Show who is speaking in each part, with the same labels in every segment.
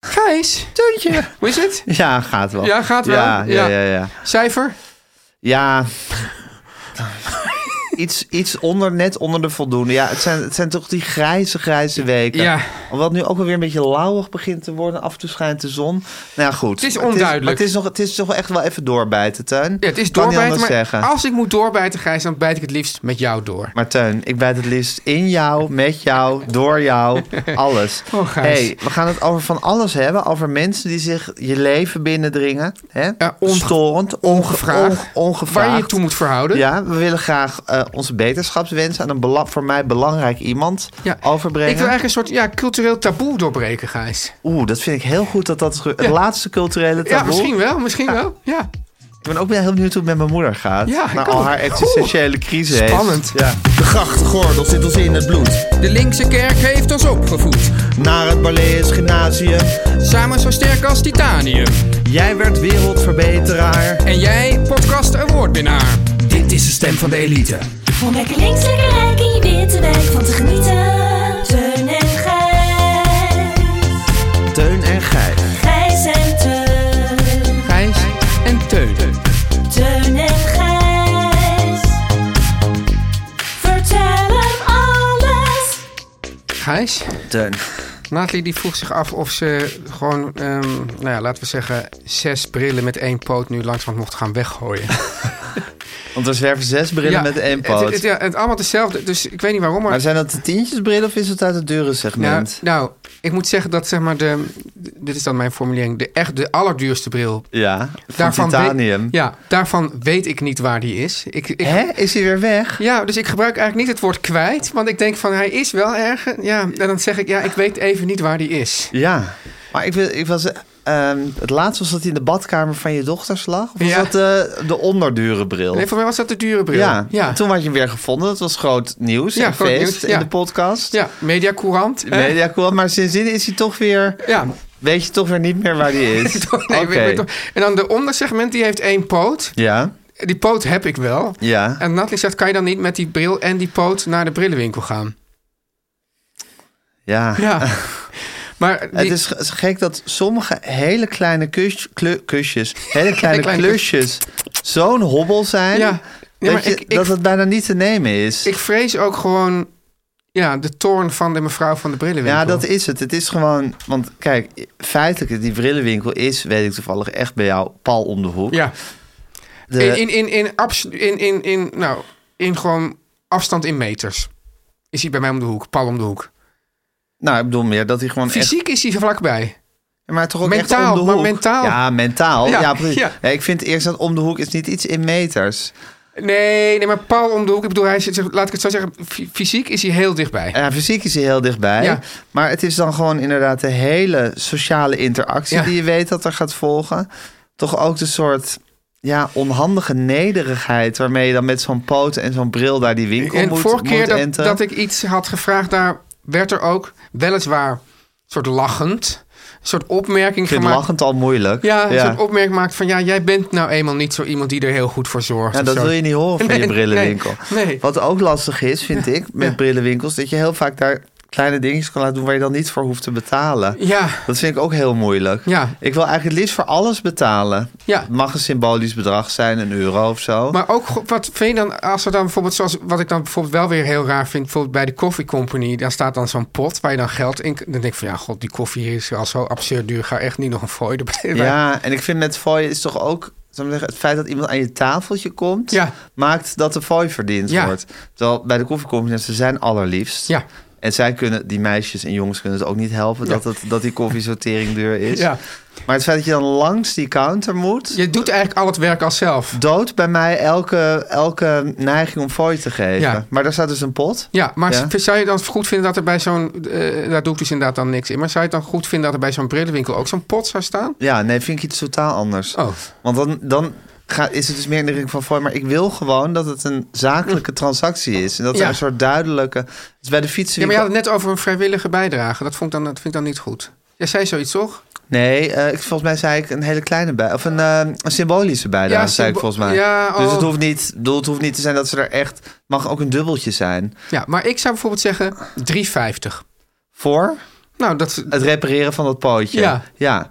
Speaker 1: Gijs, deuntje. Hoe is het?
Speaker 2: Ja, gaat wel.
Speaker 1: Ja, gaat wel.
Speaker 2: Ja, ja,
Speaker 1: Ja.
Speaker 2: ja. ja.
Speaker 1: Cijfer?
Speaker 2: Ja. iets, iets onder, net onder de voldoende. Ja, het zijn, het zijn toch die grijze, grijze weken.
Speaker 1: Ja.
Speaker 2: Hoewel het nu ook alweer een beetje lauwig begint te worden. Af en toe schijnt de zon. Nou ja, goed.
Speaker 1: Het is
Speaker 2: Maar
Speaker 1: onduidelijk.
Speaker 2: maar Het is, nog, het is toch echt wel even doorbijten, Teun.
Speaker 1: Ja, het is
Speaker 2: Kan niet
Speaker 1: doorbijten,
Speaker 2: anders
Speaker 1: maar
Speaker 2: zeggen.
Speaker 1: als ik moet doorbijten, Gijs, dan bijt ik het liefst met jou door.
Speaker 2: Maar Teun, ik bijt het liefst in jou, met jou, door jou, alles.
Speaker 1: Oh, Gijs.
Speaker 2: hey, we gaan het over van alles hebben. Over mensen die zich je leven binnendringen. Hè?
Speaker 1: Ja, onge-
Speaker 2: Storend, onge-
Speaker 1: Ongevraagd.
Speaker 2: onge- ongevraagd.
Speaker 1: Waar je je toe moet verhouden.
Speaker 2: Ja, we willen graag eh, onze beterschapswensen aan een bela- voor mij belangrijk iemand
Speaker 1: Ja.
Speaker 2: overbrengen.
Speaker 1: Ik wil eigenlijk een soort ja, cultureel taboe doorbreken, Gijs.
Speaker 2: Oeh, dat vind ik heel goed dat dat ge- het laatste culturele taboe.
Speaker 1: Ja, misschien wel, misschien wel. Ja.
Speaker 2: Ik ben ook heel benieuwd hoe het met mijn moeder gaat.
Speaker 1: Ja, ik
Speaker 2: na al
Speaker 1: ook.
Speaker 2: haar existentiële crisis. heeft.
Speaker 1: Spannend.
Speaker 2: Ja. De grachtgordel zit ons in het bloed.
Speaker 3: De linkse kerk heeft ons opgevoed,
Speaker 2: Naar het Balees Gymnasium.
Speaker 3: samen zo sterk als titanium.
Speaker 2: Jij werd wereldverbeteraar.
Speaker 3: En jij, podcast awardwinnaar. Dit is de stem van de elite.
Speaker 4: Om lekker links, lekker rijk in je witte wijk van te genieten. Teun en Gijs.
Speaker 2: Teun en Gijs.
Speaker 4: Gijs en Teun.
Speaker 3: Gijs en Teun.
Speaker 4: Teun en Gijs. Vertel hem alles.
Speaker 1: Gijs,
Speaker 2: Teun.
Speaker 1: Nathalie die vroeg zich af of ze gewoon, ehm, nou ja, laten we zeggen, zes brillen met één poot nu langzaam mocht gaan weggooien.
Speaker 2: Want er zwerven zes brillen met één poot.
Speaker 1: Het, het, ja, het allemaal hetzelfde, dus ik weet niet waarom, maar...
Speaker 2: Maar zijn dat de tientjesbrillen of is het uit het dure
Speaker 1: nou,
Speaker 2: segment?
Speaker 1: nou, ik moet zeggen dat zeg maar de, dit is dan mijn formulering, de echt de allerduurste bril.
Speaker 2: ja, van
Speaker 1: we-
Speaker 2: titanium.
Speaker 1: ja, daarvan weet ik niet waar die is. Ik, ik,
Speaker 2: Hè? Is hij weer weg?
Speaker 1: Ja, dus ik gebruik eigenlijk niet het woord kwijt, want ik denk van hij is wel erger. Ja, en dan zeg ik, ja, ik weet even niet waar die is.
Speaker 2: Ja. Maar ik, wil- ik was... ehm, het laatste was dat hij in de badkamer van je dochters lag. Of was
Speaker 1: Ja.
Speaker 2: dat de, de onderdure bril?
Speaker 1: Nee, voor mij was dat de dure bril.
Speaker 2: ja.
Speaker 1: ja.
Speaker 2: En toen had je hem weer gevonden. Dat was groot nieuws.
Speaker 1: Ja,
Speaker 2: en
Speaker 1: groot
Speaker 2: feest
Speaker 1: nieuws,
Speaker 2: in
Speaker 1: ja.
Speaker 2: de podcast.
Speaker 1: ja mediacourant. hè?
Speaker 2: Nee, ja, cool. Maar sindsdien is hij toch weer...
Speaker 1: Ja.
Speaker 2: Weet je toch weer niet meer waar die is?
Speaker 1: Nee,
Speaker 2: Oké.
Speaker 1: weet- weet toch. En dan de ondersegment, die heeft één poot.
Speaker 2: Ja,
Speaker 1: Die poot heb ik wel.
Speaker 2: ja.
Speaker 1: En Natalie zegt, kan je dan niet met die bril en die poot naar de brillenwinkel gaan?
Speaker 2: Ja.
Speaker 1: Ja. maar die,
Speaker 2: Het is ge- gek dat sommige hele kleine kus, kle- kusjes, hele kleine,
Speaker 1: kleine
Speaker 2: klusjes zo'n hobbel zijn.
Speaker 1: Ja. Ja,
Speaker 2: dat,
Speaker 1: maar
Speaker 2: je-
Speaker 1: ik- ik-
Speaker 2: dat het bijna niet te nemen is.
Speaker 1: ik vrees ook gewoon ja, de toorn van de mevrouw van de brillenwinkel.
Speaker 2: ja, dat is het. Het is gewoon, want kijk, feitelijk, die brillenwinkel is, weet ik toevallig, echt bij jou pal om de hoek.
Speaker 1: Ja.
Speaker 2: De-
Speaker 1: In, in, in, in, abso- in, in, in, nou, in gewoon afstand in meters. Is hij bij mij om de hoek, pal om de hoek.
Speaker 2: nou, ik bedoel meer dat hij gewoon echt
Speaker 1: Fysiek is hij vlakbij.
Speaker 2: Maar toch ook echt
Speaker 1: Mentaal,
Speaker 2: om de hoek.
Speaker 1: maar mentaal.
Speaker 2: Ja, mentaal.
Speaker 1: Ja,
Speaker 2: Ja, precies.
Speaker 1: ja.
Speaker 2: Nee, ik vind eerst dat om de hoek is niet iets in meters.
Speaker 1: Nee, nee, maar pal om de hoek. Ik bedoel, hij zit, zeg- laat ik het zo zeggen, fy- fysiek is hij heel dichtbij.
Speaker 2: Ja, fysiek is hij heel dichtbij.
Speaker 1: Ja.
Speaker 2: Maar het is dan gewoon inderdaad de hele sociale interactie
Speaker 1: Ja.
Speaker 2: die je weet dat er gaat volgen. Toch ook de soort ja, onhandige nederigheid waarmee je dan met zo'n poot en zo'n bril daar die winkel
Speaker 1: en
Speaker 2: moet,
Speaker 1: vorige keer
Speaker 2: moet
Speaker 1: dat,
Speaker 2: enteren.
Speaker 1: dat ik iets had gevraagd, daar werd er ook weliswaar een soort lachend, een soort opmerking
Speaker 2: ik vind
Speaker 1: gemaakt.
Speaker 2: lachend al moeilijk.
Speaker 1: Ja, een soort opmerking maakt van ja, jij bent nou eenmaal niet zo iemand die er heel goed voor zorgt.
Speaker 2: Ja,
Speaker 1: of
Speaker 2: dat
Speaker 1: zo.
Speaker 2: wil je niet horen van
Speaker 1: Nee,
Speaker 2: je brillenwinkel.
Speaker 1: nee, nee.
Speaker 2: Wat ook lastig is, vind ik, met brillenwinkels, dat je heel vaak daar kleine dingetjes kan laten doen waar je dan niet voor hoeft te betalen.
Speaker 1: Ja,
Speaker 2: Dat vind ik ook heel moeilijk.
Speaker 1: Ja.
Speaker 2: Ik wil eigenlijk het liefst voor alles betalen.
Speaker 1: Ja.
Speaker 2: Het mag een symbolisch bedrag zijn, een euro of zo.
Speaker 1: Maar ook, go- wat vind je dan, als er dan bijvoorbeeld, zoals wat ik dan bijvoorbeeld wel weer heel raar vind, bijvoorbeeld bij de koffie company, daar staat dan zo'n pot waar je dan geld in. Dan denk ik van ja, god, die koffie is al zo absurd duur, ga echt niet nog een fooi erbij.
Speaker 2: ja, en ik vind met fooi is toch ook... zal ik maar zeggen, het feit dat iemand aan je tafeltje komt...
Speaker 1: Ja.
Speaker 2: maakt dat de fooi verdiend
Speaker 1: Ja.
Speaker 2: wordt. Terwijl bij de koffiecompanies, ze zijn allerliefst.
Speaker 1: Ja.
Speaker 2: En zij kunnen, die meisjes en jongens kunnen het ook niet helpen...
Speaker 1: Ja.
Speaker 2: Dat, het, dat die koffiesortering duur is.
Speaker 1: Ja.
Speaker 2: Maar het feit dat je dan langs die counter moet...
Speaker 1: Je doet eigenlijk al het werk al zelf.
Speaker 2: Dood bij mij elke, elke neiging om fooi te geven.
Speaker 1: Ja.
Speaker 2: Maar daar staat dus een pot.
Speaker 1: Ja, maar
Speaker 2: Ja.
Speaker 1: zou je dan goed vinden dat er bij zo'n, eh, daar doe ik dus inderdaad dan niks in, maar zou je het dan goed vinden dat er bij zo'n brillenwinkel ook zo'n pot zou staan?
Speaker 2: Ja, nee, vind ik iets totaal anders.
Speaker 1: Oh.
Speaker 2: Want dan, dan ga, is het dus meer in de richting van voor. Maar ik wil gewoon dat het een zakelijke transactie is. En dat
Speaker 1: Hm. Ja.
Speaker 2: er een soort duidelijke... Dus bij de fietsen...
Speaker 1: Ja, maar je had het net over een vrijwillige bijdrage. Dat, vond ik dan, dat vind ik dan niet goed. Jij zei zoiets, toch?
Speaker 2: Nee, eh, ik, volgens mij zei ik een hele kleine bij... Of een, eh, een symbolische bijdrage,
Speaker 1: Ja,
Speaker 2: zei ik
Speaker 1: symbo-
Speaker 2: volgens mij.
Speaker 1: ja,
Speaker 2: Dus het
Speaker 1: oh.
Speaker 2: hoeft, niet, ik bedoel, het hoeft niet te zijn dat ze er echt... mag ook een dubbeltje zijn.
Speaker 1: Ja, maar ik zou bijvoorbeeld zeggen 3,50.
Speaker 2: Voor
Speaker 1: Nou, dat...
Speaker 2: het repareren van dat pootje.
Speaker 1: Ja.
Speaker 2: ja.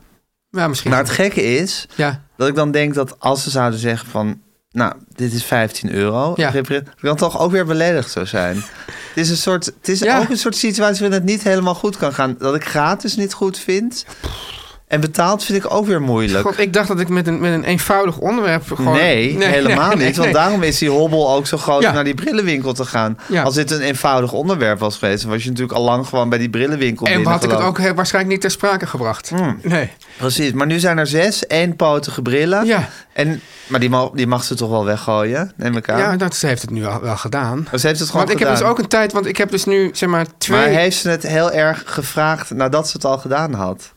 Speaker 1: Ja, misschien.
Speaker 2: Maar het gekke is...
Speaker 1: Ja.
Speaker 2: Dat ik dan denk dat als ze zouden zeggen van... Nou, dit is 15 euro.
Speaker 1: Ja.
Speaker 2: Dat ik dan toch ook weer beledigd zou zijn. het is, een soort, het is
Speaker 1: Ja.
Speaker 2: ook een soort situatie waarin het niet helemaal goed kan gaan. Dat ik gratis niet goed vind. En betaald vind ik ook weer moeilijk.
Speaker 1: God, ik dacht dat ik met een, met een eenvoudig onderwerp gewoon...
Speaker 2: Nee, helemaal
Speaker 1: nee,
Speaker 2: niet. Want
Speaker 1: nee.
Speaker 2: daarom is die hobbel ook zo groot
Speaker 1: Ja.
Speaker 2: om naar die brillenwinkel te gaan.
Speaker 1: Ja.
Speaker 2: Als dit een eenvoudig onderwerp was geweest... dan was je natuurlijk al lang gewoon bij die brillenwinkel
Speaker 1: En had ik het
Speaker 2: binnengelopen.
Speaker 1: ook eh, waarschijnlijk niet ter sprake gebracht.
Speaker 2: Hmm.
Speaker 1: Nee.
Speaker 2: Precies, maar nu zijn er zes eenpotige brillen.
Speaker 1: Ja.
Speaker 2: En, maar die mag, die mag ze toch wel weggooien, neem ik aan.
Speaker 1: Ja, dat ze heeft het nu al, wel gedaan.
Speaker 2: Maar Oh, ze heeft het gewoon
Speaker 1: Want ik heb
Speaker 2: gedaan.
Speaker 1: dus ook een tijd... Want ik heb dus nu, zeg maar, twee...
Speaker 2: Maar heeft ze het heel erg gevraagd nadat ze het al gedaan had?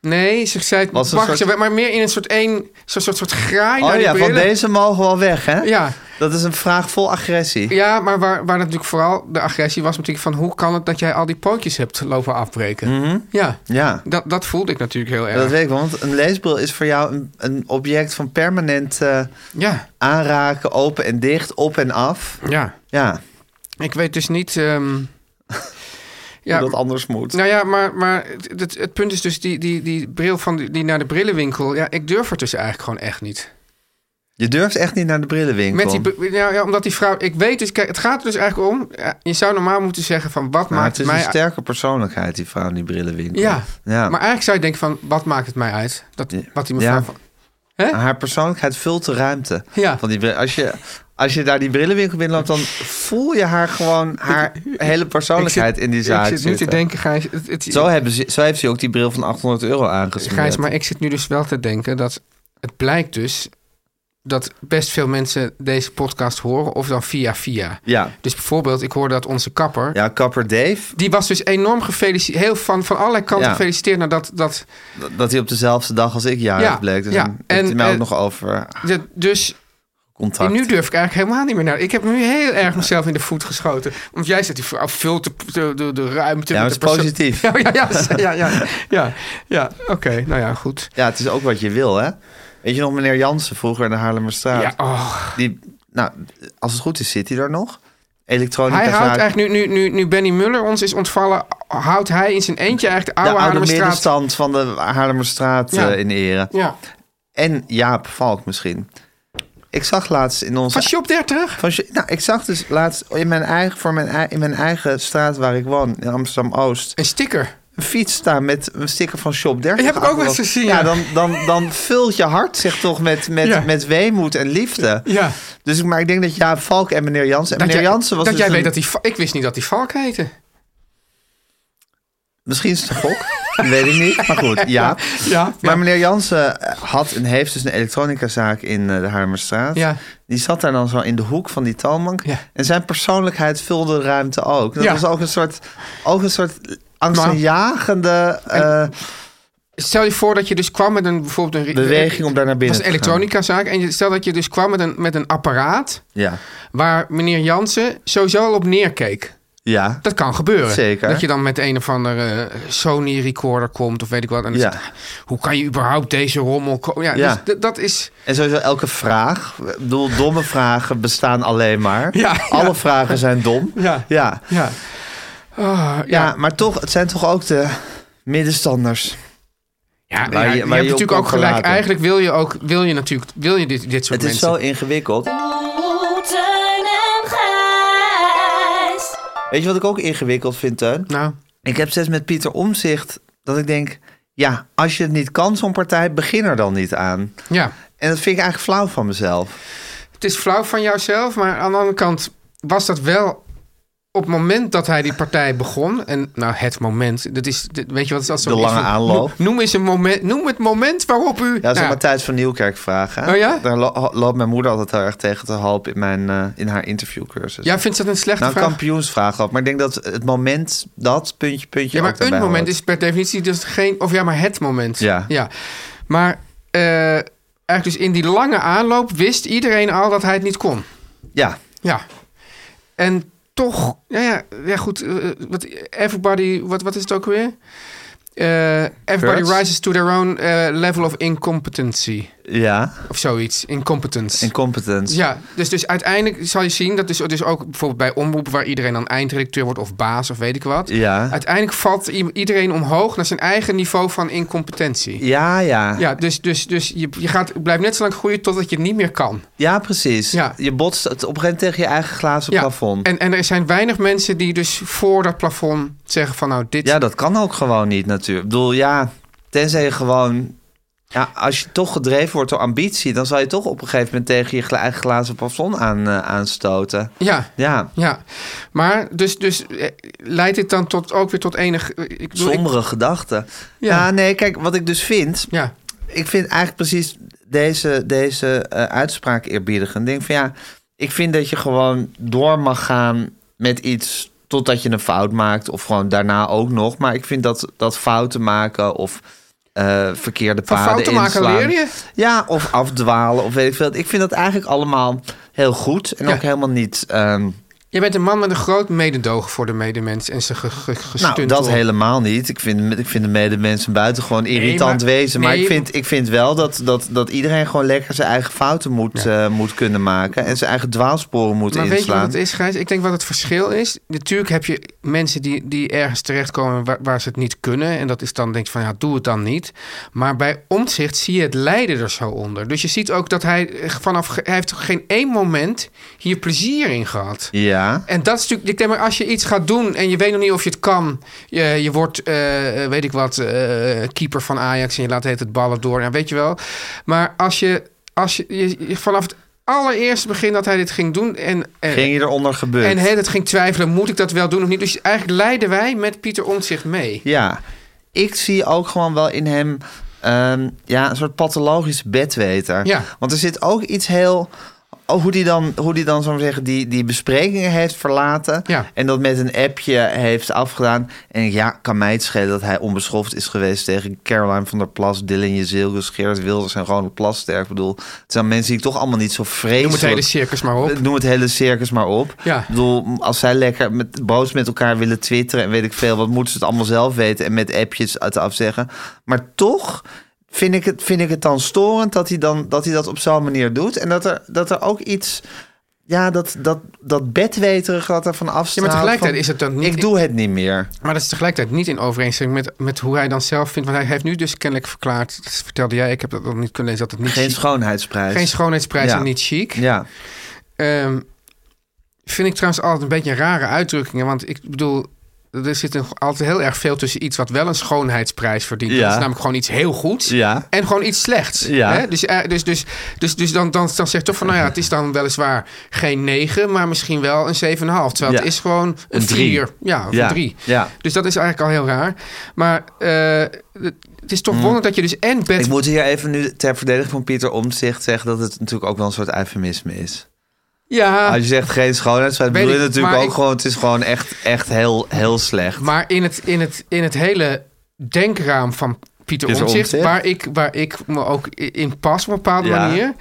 Speaker 1: Nee, ze zei... het-
Speaker 2: Was een
Speaker 1: wacht,
Speaker 2: soort-
Speaker 1: ze werd maar meer in een soort één... Zo'n soort, soort graai naar
Speaker 2: oh
Speaker 1: die
Speaker 2: ja, van
Speaker 1: brillen.
Speaker 2: deze mogen wel weg, hè?
Speaker 1: Ja.
Speaker 2: Dat is een vraag vol agressie.
Speaker 1: Ja, maar waar, waar natuurlijk vooral de agressie was natuurlijk van... hoe kan het dat jij al die pootjes hebt lopen afbreken? Ja,
Speaker 2: Mhm. Ja,
Speaker 1: dat, dat voelde ik natuurlijk heel erg.
Speaker 2: dat weet ik wel. Want een leesbril is voor jou een, een object van permanent eh,
Speaker 1: Ja,
Speaker 2: aanraken, open en dicht, op en af.
Speaker 1: ja.
Speaker 2: Ja,
Speaker 1: Ik weet dus niet... ehm, ja,
Speaker 2: hoe dat anders moet.
Speaker 1: nou ja, maar, maar het, het- het punt is dus die, die, die bril van die, die naar de brillenwinkel... Ja, ik durf het dus eigenlijk gewoon echt niet.
Speaker 2: Je durft echt niet naar de brillenwinkel.
Speaker 1: Met die, br- ja, ja, omdat die vrouw... Ik weet dus... Kijk, het gaat er dus eigenlijk om... ja, je zou normaal moeten zeggen van wat
Speaker 2: maar
Speaker 1: maakt
Speaker 2: het is
Speaker 1: mij...
Speaker 2: een sterke persoonlijkheid, die vrouw in die brillenwinkel.
Speaker 1: Ja.
Speaker 2: ja.
Speaker 1: Maar eigenlijk zou je denken van wat maakt het mij uit? Dat,
Speaker 2: Ja.
Speaker 1: wat die mevrouw...
Speaker 2: Ja.
Speaker 1: van-
Speaker 2: Haar persoonlijkheid vult de ruimte.
Speaker 1: Ja.
Speaker 2: Van die, bril- als, je, als je daar die brillenwinkel binnenloopt, dan voel je haar gewoon, haar hele persoonlijkheid in die zaak
Speaker 1: Ik zit nu te
Speaker 2: zitten.
Speaker 1: denken, Gijs... Het, het,
Speaker 2: Zo, hebben ze, zo heeft ze ook die bril van 800 euro aangesmeerd.
Speaker 1: Gijs, maar ik zit nu dus wel te denken dat het blijkt dus dat best veel mensen deze podcast horen of dan via via.
Speaker 2: Ja.
Speaker 1: Dus bijvoorbeeld, ik hoorde dat onze kapper,
Speaker 2: Ja, kapper Dave,
Speaker 1: die was dus enorm gefeliciteerd, heel van, van allerlei kanten
Speaker 2: Ja.
Speaker 1: gefeliciteerd naar dat, dat,
Speaker 2: dat- dat hij op dezelfde dag als ik jarig
Speaker 1: Ja,
Speaker 2: bleek. Dus
Speaker 1: ja.
Speaker 2: dan heeft hij
Speaker 1: En,
Speaker 2: mij ook
Speaker 1: eh,
Speaker 2: nog over
Speaker 1: dat- Dus
Speaker 2: contact.
Speaker 1: nu durf ik eigenlijk helemaal niet meer naar. Ik heb nu heel erg mezelf in de voet geschoten. Want jij zegt, die vrouw vult de, de, de, de ruimte.
Speaker 2: Ja, maar
Speaker 1: met
Speaker 2: het
Speaker 1: de
Speaker 2: is
Speaker 1: perso-
Speaker 2: positief.
Speaker 1: Ja, ja, ja, ja, ja, ja, ja. oké. nou ja, goed.
Speaker 2: Ja, het is ook wat je wil, hè? Weet je nog, meneer Jansen vroeger in de Haarlemmerstraat?
Speaker 1: Ja, oh.
Speaker 2: Die, nou, als het goed is, zit hij daar nog? Elektronica
Speaker 1: Hij houdt
Speaker 2: zaak,
Speaker 1: eigenlijk nu, nu, nu, nu Benny Muller ons is ontvallen, houdt hij in zijn eentje eigenlijk de
Speaker 2: de
Speaker 1: oude,
Speaker 2: oude
Speaker 1: Haarlemmerstraat.
Speaker 2: middenstand van de Haarlemmerstraat
Speaker 1: Ja.
Speaker 2: eh, in ere.
Speaker 1: Ja.
Speaker 2: En Jaap Valk misschien. Ik zag laatst in onze...
Speaker 1: Van Shop 30?
Speaker 2: Van, nou, ik zag dus laatst in mijn, eigen, voor mijn, ei- in mijn eigen straat waar ik woon, in Amsterdam-Oost...
Speaker 1: Een sticker.
Speaker 2: een fiets staan met een sticker van Shop 30.
Speaker 1: Die heb ik ook wel eens
Speaker 2: achterop.
Speaker 1: gezien,
Speaker 2: Ja,
Speaker 1: ja.
Speaker 2: dan, dan, dan vult je hart zich toch met, met,
Speaker 1: Ja.
Speaker 2: met weemoed en liefde.
Speaker 1: Ja.
Speaker 2: Dus ik, maar ik denk dat Jaap Valk en meneer Jansen... En
Speaker 1: Dat
Speaker 2: meneer
Speaker 1: jij-
Speaker 2: Jansen was
Speaker 1: dat
Speaker 2: dus
Speaker 1: jij weet
Speaker 2: een-
Speaker 1: dat die va- Ik wist niet dat die Valk heette.
Speaker 2: Misschien is het een gok, weet ik niet. Maar goed, Jaap.
Speaker 1: Ja.
Speaker 2: Maar
Speaker 1: ja.
Speaker 2: meneer Jansen eh, had en heeft dus een elektronicazaak in eh, de Harmerstraat.
Speaker 1: Ja.
Speaker 2: Die zat daar dan zo in de hoek van die toonbank.
Speaker 1: Ja.
Speaker 2: En zijn persoonlijkheid vulde de ruimte ook. Dat
Speaker 1: Ja.
Speaker 2: was ook een soort, ook een soort angstaanjagende eh,
Speaker 1: Stel je voor dat je dus kwam met een bijvoorbeeld een...
Speaker 2: beweging om daar naar
Speaker 1: Dat
Speaker 2: binnen
Speaker 1: is een elektronica-zaak. En je- stel dat je dus kwam met een, met een apparaat
Speaker 2: te gaan. Ja,
Speaker 1: waar meneer Jansen sowieso al op neerkeek.
Speaker 2: ja.
Speaker 1: Dat kan gebeuren.
Speaker 2: Zeker.
Speaker 1: Dat je dan met een of andere eh, Sony recorder komt of weet ik wat. En dan
Speaker 2: Ja.
Speaker 1: is het, hoe kan je überhaupt deze rommel... ko- Ja,
Speaker 2: Ja.
Speaker 1: Dus d- dat is...
Speaker 2: En sowieso elke vraag, ik bedoel, domme vragen bestaan alleen maar.
Speaker 1: Ja, ja.
Speaker 2: Alle vragen zijn dom.
Speaker 1: Ja.
Speaker 2: ja.
Speaker 1: Ja. Ah,
Speaker 2: Ja,
Speaker 1: ja,
Speaker 2: maar toch, het zijn toch ook de middenstanders.
Speaker 1: ja,
Speaker 2: waar
Speaker 1: ja, je,
Speaker 2: je- waar je
Speaker 1: hebt
Speaker 2: op
Speaker 1: natuurlijk
Speaker 2: kan
Speaker 1: ook gelijk.
Speaker 2: verlaten.
Speaker 1: Eigenlijk wil je ook wil je natuurlijk wil je dit, dit soort
Speaker 2: Het is
Speaker 1: mensen.
Speaker 2: zo ingewikkeld.
Speaker 4: Oeh, Teun en Gijs.
Speaker 2: Weet je wat ik ook ingewikkeld vind, Teun?
Speaker 1: Nou,
Speaker 2: Ik heb steeds met Pieter Omzicht dat ik denk... Ja, als je het niet kan, zo'n partij, begin er dan niet aan.
Speaker 1: ja.
Speaker 2: En dat vind ik eigenlijk flauw van mezelf.
Speaker 1: Het is flauw van jouzelf, maar aan de andere kant was dat wel op het moment dat hij die partij begon. En nou, het moment, dat is, dat- weet je wat het is als
Speaker 2: De
Speaker 1: zo'n-
Speaker 2: lange
Speaker 1: is van,
Speaker 2: aanloop.
Speaker 1: Noem, noem eens een moment, noem het moment waarop u.
Speaker 2: Ja, dat is
Speaker 1: nou,
Speaker 2: maar Thijs van Nieuwkerk vragen. hè?
Speaker 1: Oh ja?
Speaker 2: Daar lo- ho- loopt mijn moeder altijd heel erg tegen te halp in, mijn, eh, in haar interviewcursus.
Speaker 1: jij vindt dat een slechte
Speaker 2: nou, een
Speaker 1: vraag?
Speaker 2: kampioensvraag ook. Maar ik denk dat het moment, dat puntje, puntje
Speaker 1: ja, maar
Speaker 2: ook
Speaker 1: een
Speaker 2: daarbij
Speaker 1: moment
Speaker 2: hoort.
Speaker 1: is per definitie dus geen. Of ja, maar het moment.
Speaker 2: Ja.
Speaker 1: ja. Maar eh, eigenlijk dus in die lange aanloop wist iedereen al dat hij het niet kon.
Speaker 2: Ja,
Speaker 1: Ja. En toch, ja, ja, ja goed. eh, wat, everybody, wat, wat is het ook weer? Eh, everybody
Speaker 2: Hurts?
Speaker 1: rises to their own eh, level of incompetency.
Speaker 2: ja.
Speaker 1: Of zoiets. Incompetence.
Speaker 2: Incompetence.
Speaker 1: ja, dus, dus uiteindelijk zal je zien dat dus, dus ook bijvoorbeeld bij omroepen waar iedereen dan eindredacteur wordt of baas of weet ik wat.
Speaker 2: Ja.
Speaker 1: Uiteindelijk valt i- iedereen omhoog naar zijn eigen niveau van incompetentie.
Speaker 2: Ja, ja. Ja,
Speaker 1: Ja, dus, dus, dus je, je gaat, blijft net zo lang groeien totdat je het niet meer kan.
Speaker 2: precies.
Speaker 1: Ja.
Speaker 2: Je botst het op een gegeven moment tegen je eigen glazen plafond.
Speaker 1: En, en er zijn weinig mensen die dus voor dat plafond zeggen van nou dit...
Speaker 2: Ja, dat kan ook gewoon niet natuurlijk. Ik bedoel, ja, tenzij je gewoon... Ja, als je toch gedreven wordt door ambitie... dan zal je toch op een gegeven moment tegen je gla- eigen glazen plafond aan, eh, aanstoten.
Speaker 1: ja.
Speaker 2: Ja,
Speaker 1: ja. Maar dus, dus eh, leidt dit dan tot, ook weer tot enig... eh, Ik bedoel, ik-
Speaker 2: sombere gedachten. Ja.
Speaker 1: Ja.
Speaker 2: nee, kijk, wat ik dus vind...
Speaker 1: ja,
Speaker 2: Ik vind eigenlijk precies deze, deze eh, uitspraak eerbiedigend. Ik denk van ja, ik vind dat je gewoon door mag gaan met iets... totdat je een fout maakt of gewoon daarna ook nog. Maar ik vind dat, dat fouten maken of... eh, verkeerde
Speaker 1: van
Speaker 2: paden
Speaker 1: fouten maken
Speaker 2: inslaan.
Speaker 1: leer je.
Speaker 2: Ja, of afdwalen of weet ik veel. Ik vind dat eigenlijk allemaal heel goed en
Speaker 1: Ja.
Speaker 2: ook helemaal niet. ehm,
Speaker 1: Je bent een man met een groot mededogen voor de medemens en ze ge, ge, gestuntel.
Speaker 2: nou, dat helemaal niet. Ik vind, ik vind de medemensen buitengewoon irritant
Speaker 1: maar-
Speaker 2: wezen. Maar
Speaker 1: nee,
Speaker 2: ik, vind, ik vind wel dat, dat, dat iedereen gewoon lekker zijn eigen fouten moet, eh, moet kunnen maken. En zijn eigen dwaalsporen moet
Speaker 1: Maar weet je wat
Speaker 2: inslaan.
Speaker 1: het is, Gijs? Ik denk wat het verschil is. Natuurlijk heb je mensen die, die ergens terechtkomen waar, waar ze het niet kunnen. En dat is dan denk je van, ja, doe het dan niet. Maar bij omzicht zie je het lijden er zo onder. Dus je ziet ook dat hij eh, vanaf... ge- Hij heeft geen één moment hier plezier in gehad.
Speaker 2: Ja,
Speaker 1: En dat is natuurlijk, ik denk maar, als je iets gaat doen en je weet nog niet of je het kan. Je, je wordt, eh, weet ik wat, eh, keeper van Ajax en je laat het ballen door. Nou, weet je wel. Maar als je, als je, je- je- vanaf het allereerste begin dat hij dit ging doen en, en,
Speaker 2: ging je eronder gebeuren?
Speaker 1: en heel het ging twijfelen, moet ik dat wel doen of niet? Dus eigenlijk leiden wij met Pieter Omtzigt mee.
Speaker 2: Ja, ik zie ook gewoon wel in hem ehm, ja, een soort pathologisch bedweter.
Speaker 1: Ja.
Speaker 2: Want er zit ook iets heel... Oh, hoe die dan, hoe die dan zou ik maar zeggen, die, die besprekingen heeft verlaten.
Speaker 1: Ja.
Speaker 2: En dat met een appje heeft afgedaan. En ja, kan mij het schelen dat hij onbeschoft is geweest tegen Caroline van der Plas, Dylan Jezilgus, Gerard Wilders en Ronald Plasterk. Ik bedoel, het zijn mensen die ik toch allemaal niet zo
Speaker 1: Noem
Speaker 2: vreselijk...
Speaker 1: het hele circus maar op.
Speaker 2: Noem het hele circus maar op.
Speaker 1: Ja.
Speaker 2: Ik bedoel, als zij lekker met, boos met elkaar willen twitteren en weet ik veel, wat moeten ze het allemaal zelf weten en met appjes het afzeggen. Maar toch vind ik het, vind ik het dan storend dat hij, dan, dat hij dat op zo'n manier doet. En dat er, dat er ook iets. Ja, dat, dat, dat bedweterig dat er van afstaat.
Speaker 1: tegelijkertijd
Speaker 2: van,
Speaker 1: is het dan niet-
Speaker 2: Ik doe het niet meer.
Speaker 1: Maar dat is tegelijkertijd niet in overeenstemming met, met hoe hij dan zelf vindt. Want hij heeft nu dus kennelijk verklaard, dat vertelde jij, ik heb dat nog niet kunnen lezen, dat het niet
Speaker 2: Geen
Speaker 1: chic-
Speaker 2: schoonheidsprijs.
Speaker 1: geen schoonheidsprijs
Speaker 2: Ja.
Speaker 1: en niet chic.
Speaker 2: Ja,
Speaker 1: Ehm, vind ik trouwens altijd een beetje een rare uitdrukkingen. Want ik bedoel, er zit een, altijd heel erg veel tussen iets wat wel een schoonheidsprijs verdient.
Speaker 2: Ja.
Speaker 1: Dat is namelijk gewoon iets heel goeds.
Speaker 2: Ja.
Speaker 1: En gewoon iets slechts.
Speaker 2: Ja.
Speaker 1: Hè? Dus, eh, dus, dus, dus, dus dan, dan, dan zegt toch van, nou ja, het is dan weliswaar geen 9, maar misschien wel een 7,5. Terwijl
Speaker 2: Ja.
Speaker 1: het is gewoon een
Speaker 2: Een drie.
Speaker 1: 4. Ja, of
Speaker 2: Ja.
Speaker 1: een 3.
Speaker 2: Ja.
Speaker 1: Dus dat is eigenlijk al heel raar. Maar eh, het- het is toch wonder dat je dus en bed...
Speaker 2: Mm. ik moet hier even nu ter verdediging van Pieter Omtzigt zeggen dat het natuurlijk ook wel een soort eufemisme is.
Speaker 1: ja,
Speaker 2: Als je zegt geen schoonheidsfeit,
Speaker 1: Weet
Speaker 2: bedoel je
Speaker 1: ik,
Speaker 2: natuurlijk
Speaker 1: maar
Speaker 2: ook
Speaker 1: ik-
Speaker 2: gewoon... het is gewoon echt, echt heel, heel slecht.
Speaker 1: Maar in het, in het, in het hele denkraam van Pieter
Speaker 2: Pieter
Speaker 1: Omtzigt,
Speaker 2: Omtzigt.
Speaker 1: waar ik, waar ik me ook i- in pas op een bepaalde
Speaker 2: Ja.
Speaker 1: manier,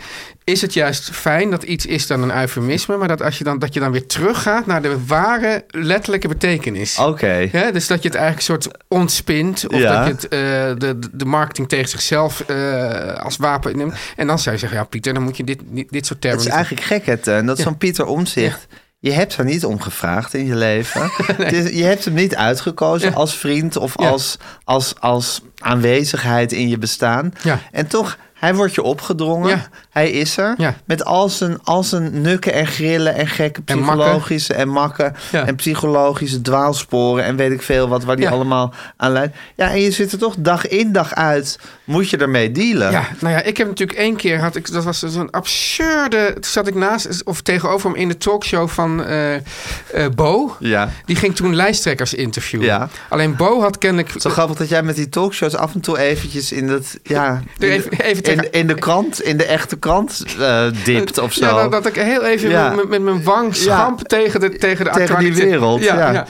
Speaker 1: is het juist fijn dat iets is dan een eufemisme, maar dat, als je, dan, dat je dan weer teruggaat naar de ware letterlijke betekenis.
Speaker 2: Oké,
Speaker 1: Hè, dus dat je het eigenlijk een soort ontspint. Of
Speaker 2: Ja.
Speaker 1: dat je het, eh, de, de- de marketing tegen zichzelf eh, als wapen neemt. En dan zou je zeggen, ja Pieter, dan moet je dit, dit soort
Speaker 2: het
Speaker 1: termen...
Speaker 2: is
Speaker 1: niet-
Speaker 2: eigenlijk gek hè, Teun, dat zo'n Pieter Omtzigt... Je hebt er niet om gevraagd in je leven. Het is- je hebt hem niet uitgekozen als vriend of
Speaker 1: Ja.
Speaker 2: als, als, als aanwezigheid in je bestaan.
Speaker 1: Ja.
Speaker 2: En toch, hij wordt je opgedrongen.
Speaker 1: Ja.
Speaker 2: Hij is er.
Speaker 1: Ja.
Speaker 2: Met al zijn, al zijn nukken en grillen en gekke
Speaker 1: En makken.
Speaker 2: psychologische en makken. En,
Speaker 1: Ja.
Speaker 2: psychologische dwaalsporen en weet ik veel wat. Waar die
Speaker 1: Ja.
Speaker 2: allemaal aan leidt. Ja, en je zit er toch dag in dag uit. Moet je ermee dealen.
Speaker 1: Ja, nou ja, ik heb natuurlijk één keer had ik dat was zo'n absurde. Toen zat ik naast of tegenover hem in de talkshow van eh, eh, Bo.
Speaker 2: Ja.
Speaker 1: Die ging toen lijsttrekkers interviewen.
Speaker 2: Ja.
Speaker 1: Alleen Bo had kennelijk
Speaker 2: Zo grappig dat jij met die talkshows af en toe eventjes in dat ja
Speaker 1: Er even-
Speaker 2: in de-
Speaker 1: even
Speaker 2: in,
Speaker 1: tegen-
Speaker 2: in de krant in de echte krant eh, dipt of zo.
Speaker 1: Ja, dat, dat ik heel even
Speaker 2: Ja.
Speaker 1: met, met mijn wang schamp tegen de tegen de
Speaker 2: Tegen die
Speaker 1: actualiteit.
Speaker 2: wereld, ja.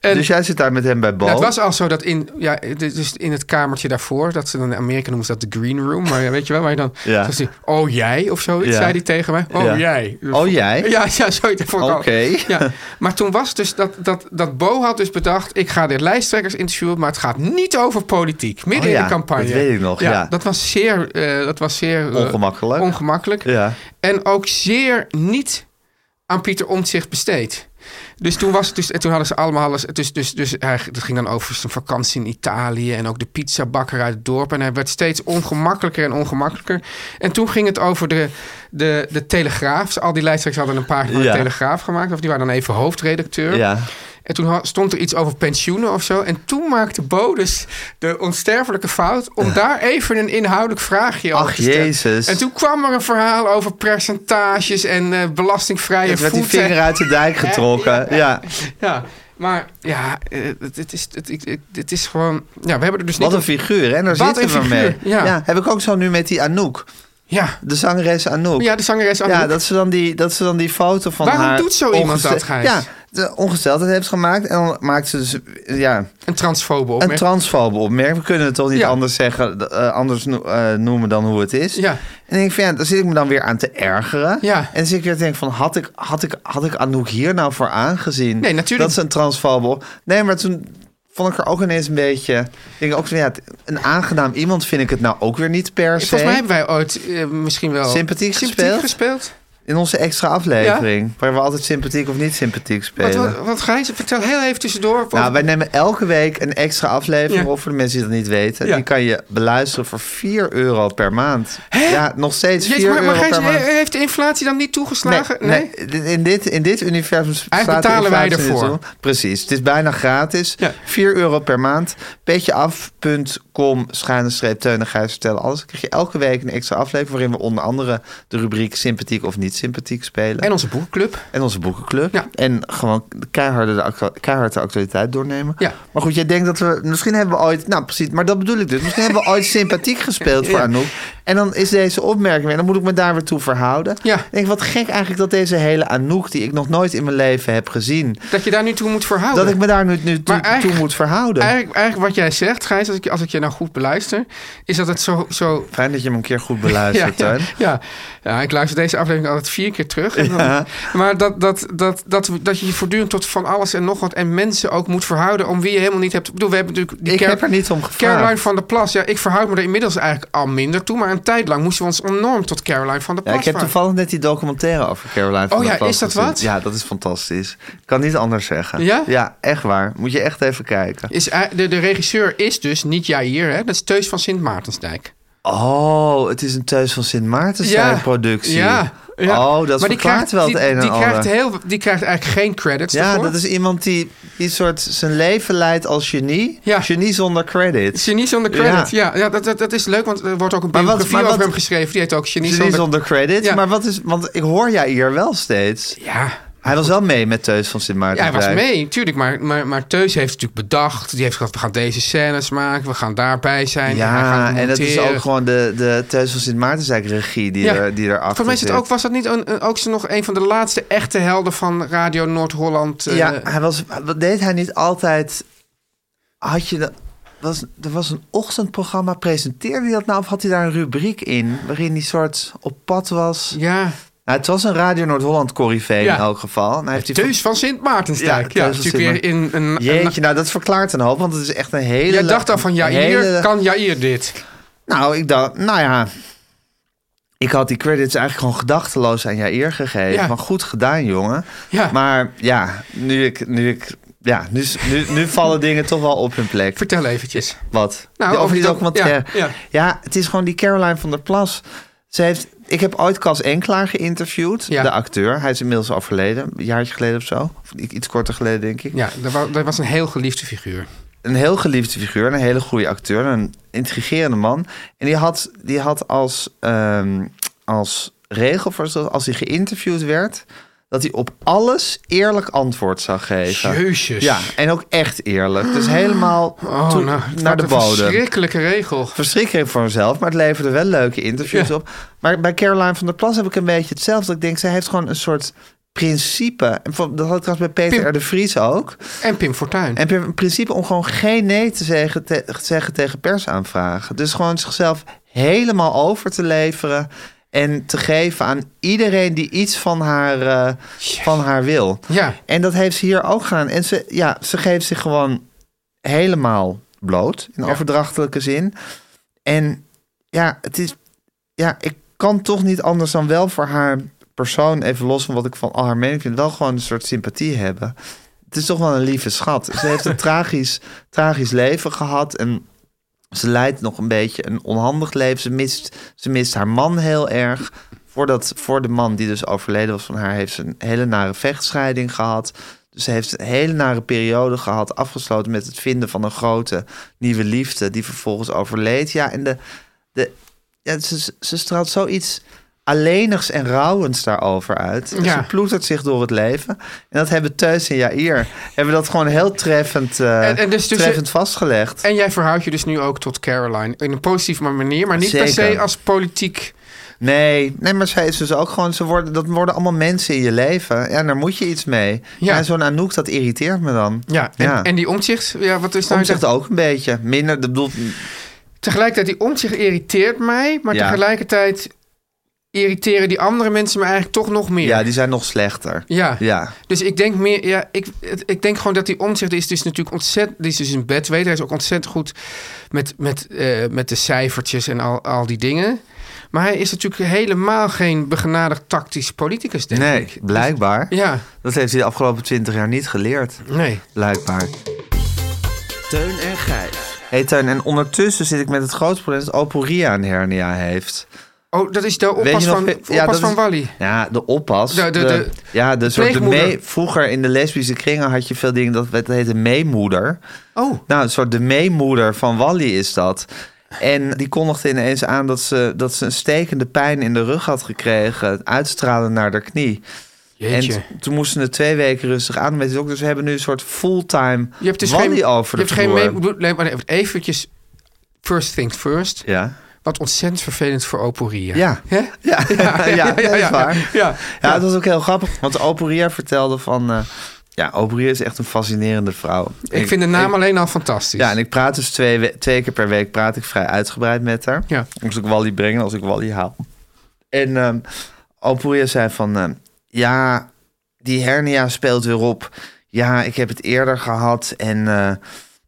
Speaker 1: En-
Speaker 2: dus jij zit daar met hem bij Bo.
Speaker 1: Ja, het was al zo dat in, ja, dus dus in het kamertje daarvoor, dat ze dan in Amerika noemen ze dat de green room, maar ja, weet je wel, waar je dan,
Speaker 2: Ja.
Speaker 1: zoals die, oh jij of zoiets,
Speaker 2: Ja.
Speaker 1: zei die tegen mij. Oh
Speaker 2: Ja.
Speaker 1: jij.
Speaker 2: Oh, jij?
Speaker 1: Ja, ja zoiets. dat vond ik al-
Speaker 2: Oké.
Speaker 1: Ja. Maar toen was dus dat, dat, dat Bo had dus bedacht, ik ga de lijsttrekkers interviewen, maar het gaat niet over politiek, midden
Speaker 2: Oh,
Speaker 1: in
Speaker 2: ja,
Speaker 1: de campagne.
Speaker 2: dat weet ik nog, ja.
Speaker 1: Dat was zeer, eh, dat was zeer eh,
Speaker 2: Ongemakkelijk.
Speaker 1: ongemakkelijk.
Speaker 2: Ja.
Speaker 1: En ook zeer niet aan Pieter Omtzigt besteed. Dus toen, was het dus, en toen hadden ze allemaal alles. Dus, dus, dus hij, dat ging dan over zijn vakantie in Italië. En ook de pizzabakker uit het dorp. En hij werd steeds ongemakkelijker en ongemakkelijker. En toen ging het over de, de, de Telegraaf. Al die lijsttrekkers hadden een pagina van
Speaker 2: Ja.
Speaker 1: de Telegraaf gemaakt. Of die waren dan even hoofdredacteur.
Speaker 2: Ja.
Speaker 1: En toen ha- stond er iets over pensioenen of zo. En toen maakte Bodus de onsterfelijke fout om daar even een inhoudelijk vraagje over
Speaker 2: Ach,
Speaker 1: te stellen.
Speaker 2: Jezus.
Speaker 1: En toen kwam er een verhaal over percentages en eh, belastingvrije
Speaker 2: Met die
Speaker 1: voeten.
Speaker 2: vinger uit de dijk getrokken. Ja.
Speaker 1: Ja, maar ja, eh, het, het is, het, ik- ik- het is gewoon. Ja, we hebben er dus
Speaker 2: Wat
Speaker 1: niet.
Speaker 2: een figuur, hè? Daar
Speaker 1: Wat
Speaker 2: zitten
Speaker 1: een
Speaker 2: we mee.
Speaker 1: figuur, ja.
Speaker 2: Heb ik ook zo nu met die Anouk,
Speaker 1: Ja.
Speaker 2: de zangeres Anouk.
Speaker 1: ja, de zangeres Anouk.
Speaker 2: Ja, dat ze, dan die, dat ze dan die foto van
Speaker 1: Waarom
Speaker 2: haar...
Speaker 1: doet zo iemand
Speaker 2: ongestel-
Speaker 1: dat, Gijs?
Speaker 2: Ja, de ongesteldheid heeft gemaakt. En dan maakt ze dus ja,
Speaker 1: een transfobe
Speaker 2: een
Speaker 1: opmerking.
Speaker 2: transfobe opmerking. We kunnen het toch niet
Speaker 1: Ja.
Speaker 2: anders, zeggen, d- eh, anders no- eh, noemen dan hoe het is.
Speaker 1: Ja.
Speaker 2: En dan denk ik van, ja, daar zit ik me dan weer aan te ergeren.
Speaker 1: Ja.
Speaker 2: En dan zit ik weer te denken van, had ik, had, ik, had ik Anouk hier nou voor aangezien?
Speaker 1: Nee, natuurlijk.
Speaker 2: Dat ze een transfobe... op- Nee, maar toen vond ik er ook ineens een beetje... Ik Denk ook van, ja, het- een aangenaam iemand vind ik het nou ook weer niet per se.
Speaker 1: Volgens mij hebben wij ooit eh, misschien wel.
Speaker 2: Sympathiek gespeeld?
Speaker 1: gespeeld.
Speaker 2: In onze extra aflevering, waar we altijd sympathiek of niet sympathiek
Speaker 1: Wat,
Speaker 2: spelen.
Speaker 1: wat, wat Gijs, vertel heel even tussendoor.
Speaker 2: Nou, wij nemen elke week een extra aflevering
Speaker 1: Ja.
Speaker 2: op voor de mensen die dat niet weten.
Speaker 1: Ja.
Speaker 2: Die kan je beluisteren voor 4 euro per maand. Ja, nog steeds 4
Speaker 1: Jezus, maar, maar
Speaker 2: euro
Speaker 1: Gijs, eh,
Speaker 2: per maand.
Speaker 1: he- heeft de inflatie dan niet toegeslagen? Nee.
Speaker 2: nee, in, dit, in dit universum
Speaker 1: Eigenlijk
Speaker 2: slaat de
Speaker 1: betalen wij
Speaker 2: inflatie niet
Speaker 1: ervoor.
Speaker 2: toe. Precies, het is bijna gratis.
Speaker 1: Ja.
Speaker 2: 4 euro per maand. Petjeaf.com, schuine streep, Teun en Gijs vertellen alles. Dan krijg je elke week een extra aflevering... waarin we onder andere de rubriek sympathiek of niet sympathiek spelen.
Speaker 1: En onze boekclub.
Speaker 2: En onze boekenclub.
Speaker 1: Ja.
Speaker 2: En gewoon keiharde de, actua- keihard de actualiteit doornemen.
Speaker 1: Ja.
Speaker 2: Maar goed, jij denkt dat we... Misschien hebben we ooit... Nou, precies. Maar dat bedoel ik dus. Misschien hebben we ooit sympathiek gespeeld voor Anouk. En dan is deze opmerking... weer- En dan moet ik me daar weer toe verhouden.
Speaker 1: Ja.
Speaker 2: Ik denk, wat gek eigenlijk dat deze hele Anouk... die ik nog nooit in mijn leven heb gezien...
Speaker 1: Dat je daar nu toe moet verhouden.
Speaker 2: dat ik me daar nu, nu toe,
Speaker 1: Maar eigenlijk-
Speaker 2: toe moet verhouden.
Speaker 1: Eigenlijk, eigenlijk wat jij zegt, Gijs, als ik, als ik je nou goed beluister, is dat het zo. zo
Speaker 2: Fijn dat je me een keer goed beluistert,
Speaker 1: ja,
Speaker 2: Teun.
Speaker 1: ja. Ja, ik luister deze aflevering altijd vier keer terug. En dan- Maar dat, dat, dat, dat, dat je je voortdurend tot van alles en nog wat en mensen ook moet verhouden om wie je helemaal niet hebt. Ik bedoel, we hebben natuurlijk die
Speaker 2: Ik
Speaker 1: Car-
Speaker 2: heb er niet om gevraagd.
Speaker 1: Caroline van der Plas. Ja, ik verhoud me er inmiddels eigenlijk al minder toe. Maar een tijd lang moesten we ons enorm tot Caroline van der
Speaker 2: Ja,
Speaker 1: Plas
Speaker 2: ik heb
Speaker 1: verhouden.
Speaker 2: toevallig net die documentaire over Caroline van
Speaker 1: Oh
Speaker 2: der
Speaker 1: ja,
Speaker 2: Plas
Speaker 1: is dat
Speaker 2: gezien.
Speaker 1: wat?
Speaker 2: Ja, dat is fantastisch. Kan niet anders zeggen.
Speaker 1: Ja?
Speaker 2: Ja, echt waar. Moet je echt even kijken.
Speaker 1: Is, hij- de, de regisseur is dus niet Jair, hè? dat is Teus van Sint Maartensdijk.
Speaker 2: Oh, het is een Thuis van Sint Maartensdijk productie.
Speaker 1: Ja, ja.
Speaker 2: Oh, dat
Speaker 1: Maar die
Speaker 2: verklaart
Speaker 1: krijgt-
Speaker 2: wel
Speaker 1: die,
Speaker 2: het een en
Speaker 1: die
Speaker 2: ander.
Speaker 1: Krijgt heel, die krijgt eigenlijk geen credits
Speaker 2: ja,
Speaker 1: daarvoor.
Speaker 2: dat is iemand die, die soort zijn leven leidt als genie.
Speaker 1: Ja.
Speaker 2: Genie zonder credits.
Speaker 1: Genie zonder credit. Ja, ja. dat, dat, dat is leuk, want er wordt ook een
Speaker 2: Maar wat-
Speaker 1: biografie
Speaker 2: maar
Speaker 1: over
Speaker 2: wat-
Speaker 1: hem geschreven. Die heet ook Genie,
Speaker 2: Genie
Speaker 1: zonder...
Speaker 2: zonder, credits.
Speaker 1: Ja.
Speaker 2: Maar wat is... Want ik hoor jij hier wel steeds.
Speaker 1: Ja.
Speaker 2: Hij was wel mee met Thuis van Sint
Speaker 1: Ja, hij
Speaker 2: Maartensdijk.
Speaker 1: was mee, tuurlijk. Maar, maar, maar Teus heeft het natuurlijk bedacht. Die heeft gezegd, we gaan deze scènes maken. We gaan daarbij zijn. en, hij gaat
Speaker 2: Ja,
Speaker 1: het
Speaker 2: en dat is
Speaker 1: monteren.
Speaker 2: ook gewoon de, de Thuis van Sint Maartensdijk regie die,
Speaker 1: Ja.
Speaker 2: er, die erachter
Speaker 1: Volgens mij is het
Speaker 2: zit.
Speaker 1: ook, was dat niet een, een- ook zo nog een van de laatste echte helden van Radio Noord-Holland? eh,
Speaker 2: ja, hij was, wat deed hij niet altijd? Had je de, was, er was een ochtendprogramma, presenteerde hij dat nou? Of had hij daar een rubriek in waarin hij soort op pad was?
Speaker 1: ja.
Speaker 2: Nou, het was een Radio Noord-Holland corrivee
Speaker 1: Ja.
Speaker 2: in elk geval. En hij heeft die
Speaker 1: Teus van Sint Maartensdijk.
Speaker 2: Ja,
Speaker 1: Ja,
Speaker 2: Teus van
Speaker 1: natuurlijk weer in
Speaker 2: Sint
Speaker 1: een, een-
Speaker 2: Jeetje, nou dat verklaart een hoop, want het is echt een hele...
Speaker 1: Jij dacht dan van Jair,
Speaker 2: hele-
Speaker 1: kan Jair dit?
Speaker 2: Nou, ik dacht, nou ja... Ik had die credits eigenlijk gewoon gedachteloos aan Jair gegeven.
Speaker 1: Ja.
Speaker 2: Maar goed gedaan, jongen.
Speaker 1: Ja.
Speaker 2: Maar ja, nu ik... Nu ik ja, nu, is- nu, nu vallen dingen toch wel op hun plek.
Speaker 1: Vertel eventjes.
Speaker 2: Wat?
Speaker 1: Nou,
Speaker 2: Ja,
Speaker 1: over
Speaker 2: over die
Speaker 1: die
Speaker 2: documentaire.
Speaker 1: doc- ja,
Speaker 2: eh, Ja,
Speaker 1: ja.
Speaker 2: het is gewoon die Caroline van der Plas. Ze heeft, ik heb ooit Cas Enklaar geïnterviewd,
Speaker 1: Ja.
Speaker 2: de acteur. Hij is inmiddels overleden, een jaartje geleden of zo. Of i- Iets korter geleden, denk ik.
Speaker 1: Ja, dat wa- dat was een heel geliefde figuur.
Speaker 2: Een heel geliefde figuur, een hele goede acteur, een intrigerende man. En die had, die had als, ehm, als regel voor zichzelf, als hij geïnterviewd werd, dat hij op alles eerlijk antwoord zou geven.
Speaker 1: Jezus.
Speaker 2: Ja, en ook echt eerlijk. Dus helemaal
Speaker 1: Oh,
Speaker 2: toe-
Speaker 1: nou, wat
Speaker 2: naar de
Speaker 1: een
Speaker 2: bodem
Speaker 1: Verschrikkelijke regel.
Speaker 2: verschrikking voor mezelf, maar het leverde wel leuke interviews
Speaker 1: Ja.
Speaker 2: op. Maar bij Caroline van der Plas heb ik een beetje hetzelfde. Ik denk, zij heeft gewoon een soort principe. En van- dat had ik trouwens bij Peter
Speaker 1: Pim.
Speaker 2: R. de Vries ook.
Speaker 1: En Pim Fortuyn.
Speaker 2: En een principe om gewoon geen nee te zeggen, te- te zeggen tegen persaanvragen. Dus gewoon zichzelf helemaal over te leveren. En te geven aan iedereen die iets van haar, eh, van haar wil.
Speaker 1: Ja.
Speaker 2: En dat heeft ze hier ook gedaan. En ze, ja, ze geeft zich gewoon helemaal bloot. In overdrachtelijke zin. En ja, het is. Ja, ik kan toch niet anders dan wel voor haar persoon, even los van wat ik van al haar mening vind, wel gewoon een soort sympathie hebben. Het is toch wel een lieve schat. Ze heeft een tragisch, tragisch leven gehad. En ze leidt nog een beetje een onhandig leven. Ze mist, ze mist haar man heel erg. Voordat, voor de man die dus overleden was van haar, heeft ze een hele nare vechtscheiding gehad. Dus ze heeft een hele nare periode gehad. Afgesloten met het vinden van een grote nieuwe liefde. Die vervolgens overleed. Ja, en de, de, ja, ze, ze straalt zoiets alleenigs en rouwends daarover uit. En
Speaker 1: Ja.
Speaker 2: Ze ploetert zich door het leven. En dat hebben Teus en Jair... hebben dat gewoon heel treffend, eh,
Speaker 1: En- en dus- dus-
Speaker 2: treffend vastgelegd.
Speaker 1: En jij verhoudt je dus nu ook tot Caroline. In een positieve manier, maar niet per
Speaker 2: Zeker.
Speaker 1: se als politiek.
Speaker 2: Nee, nee, maar zij is dus ook gewoon... Ze worden, dat worden allemaal mensen in je leven. Ja, en daar moet je iets mee.
Speaker 1: Ja.
Speaker 2: Ja. En zo'n Anouk, dat irriteert me dan.
Speaker 1: Ja, en, en die omzicht, ja, wat is nou...
Speaker 2: zegt ook een beetje. Minder, ik bedoel,
Speaker 1: Tegelijkertijd, die omzicht irriteert mij, maar
Speaker 2: Ja.
Speaker 1: tegelijkertijd irriteren die andere mensen me eigenlijk toch nog meer.
Speaker 2: ja, die zijn nog slechter.
Speaker 1: Ja.
Speaker 2: Ja.
Speaker 1: Dus ik denk meer, ja, ik, het- ik denk gewoon dat die omzicht is dus natuurlijk ontzettend, die is dus in bed, weet hij is ook ontzettend goed met, met, eh, met de cijfertjes en al, al die dingen. Maar hij is natuurlijk helemaal geen begenadigd tactisch politicus, denk
Speaker 2: Nee,
Speaker 1: ik.
Speaker 2: blijkbaar.
Speaker 1: Ja,
Speaker 2: Dat heeft hij de afgelopen twintig jaar niet geleerd.
Speaker 1: nee.
Speaker 2: Blijkbaar. Teun en Gijs. Hey Teun, en ondertussen zit ik met het grootste probleem dat Oporia een hernia heeft.
Speaker 1: Oh, dat is de oppas
Speaker 2: je nog-
Speaker 1: van, oppas
Speaker 2: ja, dat
Speaker 1: van
Speaker 2: is-
Speaker 1: Wally.
Speaker 2: Ja, de oppas.
Speaker 1: De- de- de-
Speaker 2: ja, de soort de
Speaker 1: pleegmoeder.
Speaker 2: mee, vroeger in de lesbische kringen had je veel dingen, dat, dat heette meemoeder.
Speaker 1: Oh,
Speaker 2: Nou, een soort de meemoeder van Wally is dat. En die kondigde ineens aan dat ze, dat ze een stekende pijn in de rug had gekregen. Uitstralen naar haar knie.
Speaker 1: jeetje.
Speaker 2: En t- toen moesten ze twee weken rustig aan met de dokter. Dus we hebben nu een soort fulltime
Speaker 1: je hebt dus
Speaker 2: Wally
Speaker 1: geen,
Speaker 2: over
Speaker 1: je
Speaker 2: de
Speaker 1: hebt geen
Speaker 2: vloer.
Speaker 1: mee, bedoel- nee, maar even- eventjes first things first.
Speaker 2: Ja.
Speaker 1: Wat ontzettend vervelend voor Oporia.
Speaker 2: Ja.
Speaker 1: Hè?
Speaker 2: Ja, ja,
Speaker 1: ja,
Speaker 2: dat is
Speaker 1: ja,
Speaker 2: waar.
Speaker 1: ja,
Speaker 2: Ja,
Speaker 1: ja.
Speaker 2: dat was ook heel grappig. Want Oporia vertelde van... eh, ja, Oporia is echt een fascinerende vrouw.
Speaker 1: Ik vind de naam alleen al fantastisch.
Speaker 2: Ja, en ik praat dus twee, we- twee keer per week praat ik vrij uitgebreid met haar.
Speaker 1: Ja.
Speaker 2: Moest ik Wally brengen als ik Wally haal. En ehm Alpoeria zei van... ehm, ja, die hernia speelt weer op. Ja, ik heb het eerder gehad en... eh,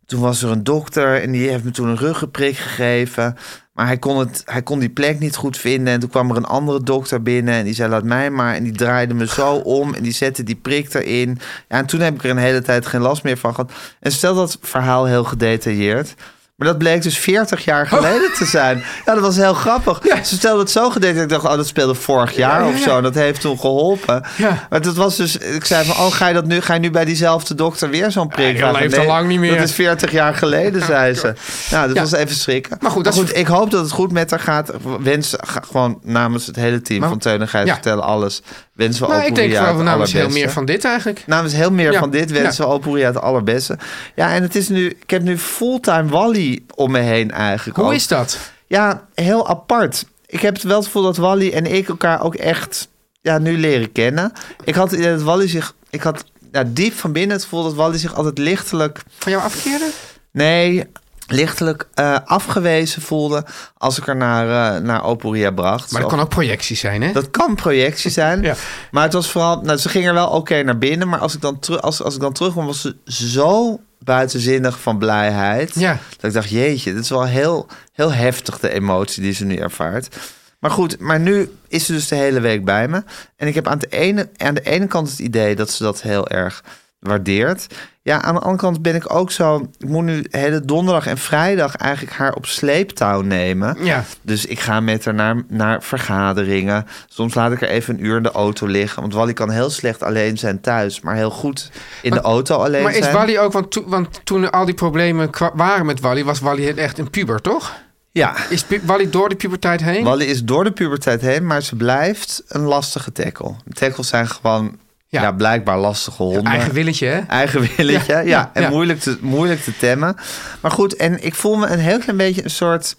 Speaker 2: toen was er een dokter en die heeft me toen een ruggenprik gegeven. Maar hij kon, het, hij kon die plek niet goed vinden. En toen kwam er een andere dokter binnen en die zei: Laat mij maar. En die draaide me zo om en die zette die prik erin. Ja, en toen heb ik er een hele tijd geen last meer van gehad. En stel dat verhaal heel gedetailleerd. Maar dat bleek dus 40 jaar
Speaker 1: Oh.
Speaker 2: geleden te zijn. Ja, dat was heel grappig. Ze stelde het zo gedetailleerd. Ik dacht, oh, dat speelde vorig jaar of zo. En dat heeft toen geholpen.
Speaker 1: Ja.
Speaker 2: Maar dat was dus... Ik zei van, oh, ga je, dat nu, ga je nu bij diezelfde dokter weer zo'n prik
Speaker 1: Ja, dat leeft
Speaker 2: Nee,
Speaker 1: al lang niet meer.
Speaker 2: Dat is 40 jaar geleden, zei ze. Nou, dat was even schrikken.
Speaker 1: Maar goed, dat is-
Speaker 2: ik hoop dat het goed met haar gaat. Wens ga- gewoon namens het hele team
Speaker 1: Maar-
Speaker 2: van Teun en Gijs
Speaker 1: ja.
Speaker 2: vertellen alles. Wensen we
Speaker 1: Nou, ik denk
Speaker 2: Oporia
Speaker 1: vooral
Speaker 2: het
Speaker 1: namens heel
Speaker 2: allerbeste. Nou,
Speaker 1: meer van dit eigenlijk.
Speaker 2: Namens heel meer
Speaker 1: Ja,
Speaker 2: van dit wensen we Oporia het allerbeste. Ja, en het is nu... Ik heb nu fulltime Wally om me heen eigenlijk.
Speaker 1: Hoe
Speaker 2: ook.
Speaker 1: is dat?
Speaker 2: Ja, heel apart. Ik heb het wel het gevoel dat Wally en ik elkaar ook echt ja, nu leren kennen. Ik had het idee dat Wally zich... Ik had ja, diep van binnen het gevoel dat Wally zich altijd lichtelijk...
Speaker 1: Van jou afkeren?
Speaker 2: Nee, lichtelijk eh, afgewezen voelde als ik haar naar, eh, naar Oporia bracht.
Speaker 1: Maar dat
Speaker 2: Zo.
Speaker 1: kan ook projectie zijn, hè?
Speaker 2: Dat kan projectie zijn.
Speaker 1: Ja.
Speaker 2: Maar het was vooral... Nou, ze ging er wel oké naar binnen. Maar als ik, dan teru- als, als ik dan terugkwam, was ze zo buitenzinnig van blijheid.
Speaker 1: Ja.
Speaker 2: Dat ik dacht, jeetje, dit is wel heel, heel heftig de emotie die ze nu ervaart. Maar goed, maar nu is ze dus de hele week bij me. En ik heb aan de ene, aan de ene kant het idee dat ze dat heel erg waardeert. Ja, aan de andere kant ben ik ook zo... Ik moet nu hele donderdag en vrijdag eigenlijk haar op sleeptouw nemen.
Speaker 1: Ja.
Speaker 2: Dus ik ga met haar naar, naar vergaderingen. Soms laat ik haar even een uur in de auto liggen. Want Wally kan heel slecht alleen zijn thuis. Maar heel goed in de auto alleen
Speaker 1: Maar
Speaker 2: zijn.
Speaker 1: is Wally ook, want, toe- want toen er al die problemen kwa- waren met Wally, was Wally echt een puber, toch?
Speaker 2: Ja.
Speaker 1: Is pu- Wally door de puberteit heen?
Speaker 2: Wally is door de puberteit heen, maar ze blijft een lastige tackle. Tackles zijn gewoon
Speaker 1: Ja.
Speaker 2: ja. blijkbaar lastige honden.
Speaker 1: Eigen willetje, hè?
Speaker 2: Eigen willetje,
Speaker 1: Ja,
Speaker 2: ja.
Speaker 1: ja,
Speaker 2: en
Speaker 1: ja.
Speaker 2: Moeilijk, te, moeilijk te temmen. Maar goed, en ik voel me een heel klein beetje een soort...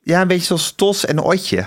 Speaker 2: Ja, een beetje zoals Tos en Otje.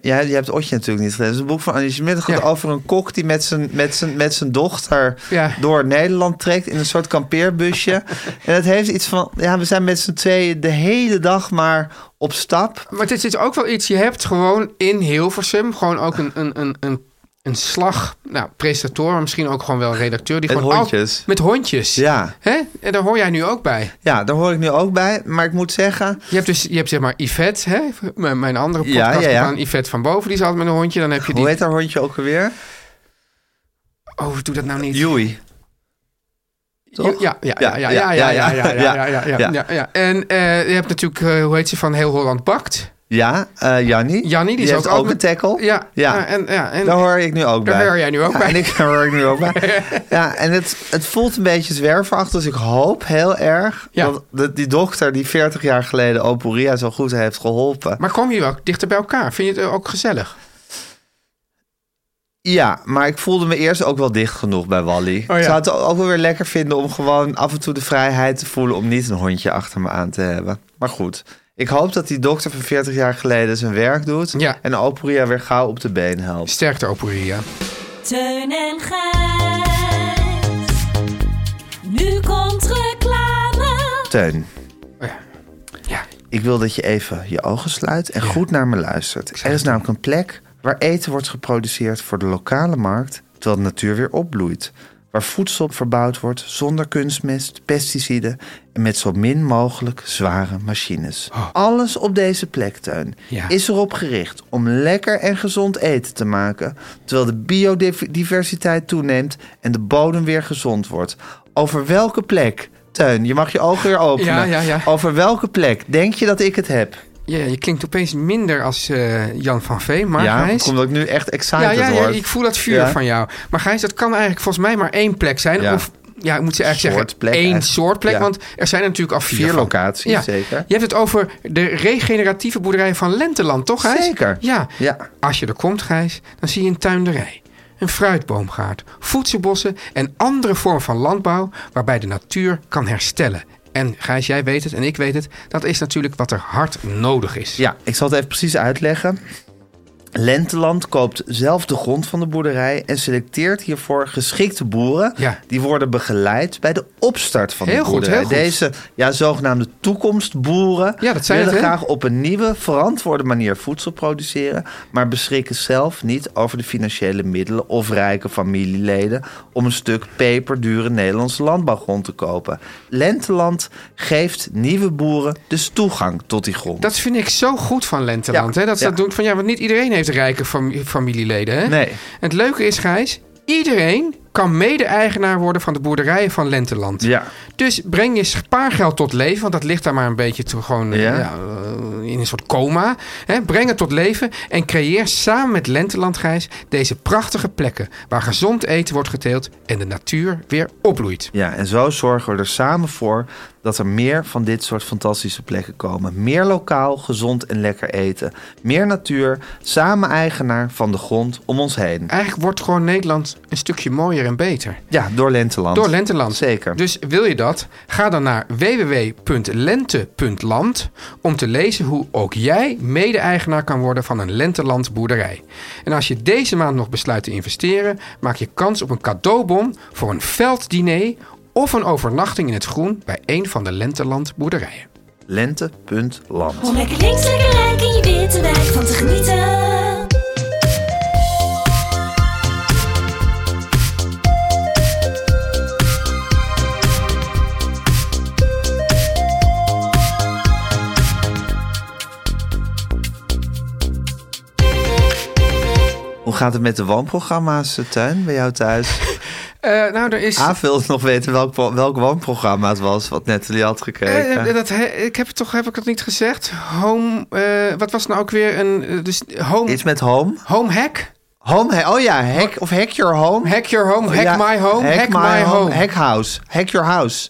Speaker 2: Ja, je hebt Otje natuurlijk niet gelezen. Het is een boek van Annie Schmidt. Het gaat
Speaker 1: Ja.
Speaker 2: over een kok die met zijn, met zijn, met zijn dochter
Speaker 1: Ja.
Speaker 2: door Nederland trekt in een soort kampeerbusje. en het heeft iets van... Ja, we zijn met z'n tweeën de hele dag maar op stap.
Speaker 1: Maar dit is ook wel iets, je hebt gewoon in Hilversum gewoon ook een, een, een, een, een slag, nou, presentator, maar misschien ook gewoon wel redacteur. Die
Speaker 2: Met
Speaker 1: gewoon al-
Speaker 2: hondjes.
Speaker 1: met hondjes.
Speaker 2: Ja.
Speaker 1: Hè? En daar hoor jij nu ook bij.
Speaker 2: Ja, daar hoor ik nu ook bij. Maar ik moet zeggen,
Speaker 1: Je hebt dus, je hebt zeg maar Yvette, hè? Mijn, mijn andere
Speaker 2: Ja,
Speaker 1: podcast
Speaker 2: ja, ja.
Speaker 1: aan Yvette van Boven, die is altijd met een hondje. Dan heb je die...
Speaker 2: hoe heet haar hondje ook alweer?
Speaker 1: Oh, doe dat nou niet.
Speaker 2: Joey. Toch?
Speaker 1: Ja, ja, ja, ja, ja, ja, ja, ja, ja, ja, ja, ja, ja, ja. En eh, je hebt natuurlijk, eh, hoe heet ze, van Heel Holland Bakt.
Speaker 2: Ja, eh Jannie.
Speaker 1: Jannie, die is
Speaker 2: heeft
Speaker 1: ook
Speaker 2: ook
Speaker 1: met-
Speaker 2: een tackle.
Speaker 1: Ja, ja.
Speaker 2: ja.
Speaker 1: En, ja, en,
Speaker 2: daar hoor ik nu ook
Speaker 1: Daar
Speaker 2: bij.
Speaker 1: hoor jij nu ook
Speaker 2: Ja,
Speaker 1: bij.
Speaker 2: En ik daar hoor ik nu ook bij. Ja, en het, het voelt een beetje zwerverachtig. Dus ik hoop heel erg
Speaker 1: Ja.
Speaker 2: dat de- die dokter die 40 jaar geleden Oporia zo goed heeft geholpen.
Speaker 1: Maar kom je wel dichter bij elkaar? Vind je het eh, ook gezellig?
Speaker 2: Ja, maar ik voelde me eerst ook wel dicht genoeg bij Wally.
Speaker 1: Oh, ja.
Speaker 2: Ik zou het ook wel weer lekker vinden om gewoon af en toe de vrijheid te voelen... om niet een hondje achter me aan te hebben. Maar goed, ik hoop dat die dokter van 40 jaar geleden zijn werk doet...
Speaker 1: Ja.
Speaker 2: en Oporia weer gauw op de been helpt.
Speaker 1: Sterkte, Oporia.
Speaker 4: Teun en Gijs. Nu komt reclame.
Speaker 2: Teun,
Speaker 1: Oh Ja.
Speaker 2: ik wil dat je even je ogen sluit en goed naar me luistert. Er is namelijk een plek waar eten wordt geproduceerd voor de lokale markt... terwijl de natuur weer opbloeit. Waar voedsel verbouwd wordt zonder kunstmest, pesticiden... en met zo min mogelijk zware machines. Alles op deze plek, Teun,
Speaker 1: Ja.
Speaker 2: is erop gericht... om lekker en gezond eten te maken... terwijl de biodiversiteit toeneemt en de bodem weer gezond wordt. Over welke plek... Teun, je mag je ogen weer openen.
Speaker 1: Ja, ja, ja.
Speaker 2: Over welke plek denk je dat ik het heb?
Speaker 1: Ja, je klinkt opeens minder als eh, Jan van Veen, maar
Speaker 2: ja,
Speaker 1: Gijs...
Speaker 2: omdat ik nu echt
Speaker 1: ja,
Speaker 2: excited
Speaker 1: ja, ja,
Speaker 2: word.
Speaker 1: ik voel dat vuur
Speaker 2: Ja.
Speaker 1: van jou. Maar Gijs, dat kan eigenlijk volgens mij maar één plek zijn.
Speaker 2: Ja.
Speaker 1: Of, ja, ik moet ze eigenlijk
Speaker 2: Soort
Speaker 1: zeggen,
Speaker 2: plek
Speaker 1: één
Speaker 2: eigenlijk.
Speaker 1: soort plek.
Speaker 2: Ja.
Speaker 1: Want er zijn er natuurlijk al vier,
Speaker 2: Vier
Speaker 1: van.
Speaker 2: locaties, zeker.
Speaker 1: Je hebt het over de regeneratieve boerderij van Lenteland, toch Gijs?
Speaker 2: Zeker.
Speaker 1: Ja.
Speaker 2: Ja.
Speaker 1: Als je er komt, Gijs, dan zie je een tuinderij. Een fruitboomgaard, voedselbossen en andere vormen van landbouw waarbij de natuur kan herstellen. En Gijs, jij weet het en ik weet het, dat is natuurlijk wat er hard nodig is.
Speaker 2: Ja, ik zal het even precies uitleggen. Lenteland koopt zelf de grond van de boerderij en selecteert hiervoor geschikte boeren.
Speaker 1: Ja.
Speaker 2: Die worden begeleid bij de opstart van
Speaker 1: Heel
Speaker 2: de
Speaker 1: goed,
Speaker 2: boerderij.
Speaker 1: heel goed.
Speaker 2: Deze ja, zogenaamde toekomstboeren
Speaker 1: Ja, dat zijn
Speaker 2: willen
Speaker 1: het, hè?
Speaker 2: graag op een nieuwe, verantwoorde manier voedsel produceren, maar beschikken zelf niet over de financiële middelen of rijke familieleden om een stuk peperdure Nederlandse landbouwgrond te kopen. Lenteland geeft nieuwe boeren dus toegang tot die grond.
Speaker 1: Dat vind ik zo goed van Lenteland.
Speaker 2: Ja,
Speaker 1: Hè? Dat ze
Speaker 2: ja.
Speaker 1: dat doen van ja, want niet iedereen heeft rijke fam- familieleden. Hè?
Speaker 2: Nee.
Speaker 1: Het leuke is, Gijs, iedereen kan mede-eigenaar worden van de boerderijen van Lenteland.
Speaker 2: Ja.
Speaker 1: Dus breng je spaargeld tot leven, want dat ligt daar maar een beetje te, gewoon eh,
Speaker 2: Ja.
Speaker 1: ja, eh, in een soort coma. Hè? Breng het tot leven en creëer samen met Lenteland, Gijs, deze prachtige plekken waar gezond eten wordt geteeld en de natuur weer opbloeit.
Speaker 2: Ja, en zo zorgen we er samen voor dat er meer van dit soort fantastische plekken komen. Meer lokaal, gezond en lekker eten. Meer natuur, samen eigenaar van de grond om ons heen.
Speaker 1: Eigenlijk wordt gewoon Nederland een stukje mooier en beter.
Speaker 2: Ja, door Lenteland.
Speaker 1: Door Lenteland.
Speaker 2: Zeker.
Speaker 1: Dus wil je dat? Ga dan naar www.lente.land om te lezen hoe ook jij mede-eigenaar kan worden van een Lenteland boerderij. En als je deze maand nog besluit te investeren, maak je kans op een cadeaubon voor een velddiner of een overnachting in het groen bij een van de Lenteland boerderijen.
Speaker 2: Lente.land.
Speaker 4: Om lekker links, lekker rijk in je witte wijk van te genieten.
Speaker 2: gaat het met de woonprogramma's, eh, Teun, bij jou thuis?
Speaker 1: Eh, nou, er is...
Speaker 2: Aaf wilde nog weten welk, pro- welk woonprogramma het was wat Natalie had
Speaker 1: Eh,
Speaker 2: gekeken.
Speaker 1: eh, dat he- ik heb het toch, heb ik het niet gezegd? Home, eh, wat was het nou ook weer? Een, eh, dus home,
Speaker 2: Iets met home?
Speaker 1: home hack?
Speaker 2: Home, he- oh ja, hack, of hack your home.
Speaker 1: Hack your home, hack
Speaker 2: Ja,
Speaker 1: my home, hack, my, home.
Speaker 2: Hack house, hack your house.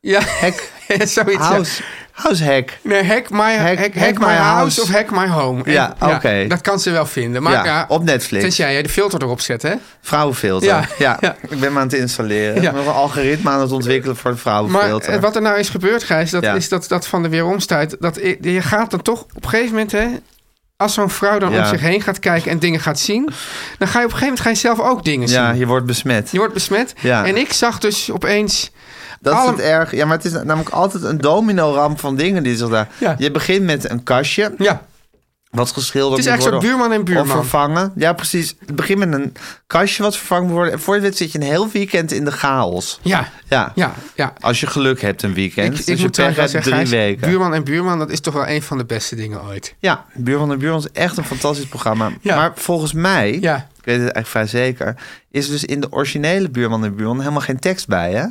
Speaker 1: ja,
Speaker 2: Hack
Speaker 1: zoiets. ja.
Speaker 2: house, house hack.
Speaker 1: Nee, hack my, hack, hack, my, house of hack my home. En-
Speaker 2: Ja, oké.
Speaker 1: Dat kan ze wel vinden. Maar
Speaker 2: Ja,
Speaker 1: ja,
Speaker 2: op Netflix.
Speaker 1: Tenzij jij de filter erop zet, hè?
Speaker 2: Vrouwenfilter. Ja,
Speaker 1: Ja,
Speaker 2: ja.
Speaker 1: ja.
Speaker 2: ik ben hem aan het installeren.
Speaker 1: Ja.
Speaker 2: Ik ben nog een algoritme aan het ontwikkelen voor een
Speaker 1: Maar
Speaker 2: vrouwenfilter.
Speaker 1: eh, wat er nou is gebeurd, Gijs, dat
Speaker 2: Ja.
Speaker 1: is dat, dat van de weeromstuit. Dat, i- je gaat dan toch op een gegeven moment, hè, als zo'n vrouw dan
Speaker 2: Ja.
Speaker 1: om zich heen gaat kijken en dingen gaat zien, dan ga je op een gegeven moment ga je zelf ook dingen
Speaker 2: ja,
Speaker 1: zien.
Speaker 2: je wordt besmet.
Speaker 1: Je wordt besmet.
Speaker 2: Ja.
Speaker 1: En ik zag dus opeens.
Speaker 2: Dat
Speaker 1: Allem-
Speaker 2: is het erg. Ja, maar het is namelijk altijd een domino-ramp van dingen die zich daar...
Speaker 1: Ja.
Speaker 2: Je begint met een kastje,
Speaker 1: Ja,
Speaker 2: wat geschilderd
Speaker 1: Het is eigenlijk
Speaker 2: moet worden
Speaker 1: zo'n buurman en buurman.
Speaker 2: Of vervangen. Ja, precies. Het begint met een kastje wat vervangen moet worden. En voor je het weet zit je een heel weekend in de chaos.
Speaker 1: ja,
Speaker 2: Ja.
Speaker 1: ja, ja.
Speaker 2: Als je geluk hebt een weekend. dus je pech
Speaker 1: trouwens wel
Speaker 2: hebt drie
Speaker 1: Gijs,
Speaker 2: weken.
Speaker 1: Buurman en buurman, dat is toch wel een van de beste dingen ooit.
Speaker 2: Ja, Buurman en Buurman is echt een fantastisch programma.
Speaker 1: Ja.
Speaker 2: Maar volgens mij,
Speaker 1: Ja.
Speaker 2: ik weet het eigenlijk vrij zeker... is dus in de originele Buurman en Buurman helemaal geen tekst bij, hè?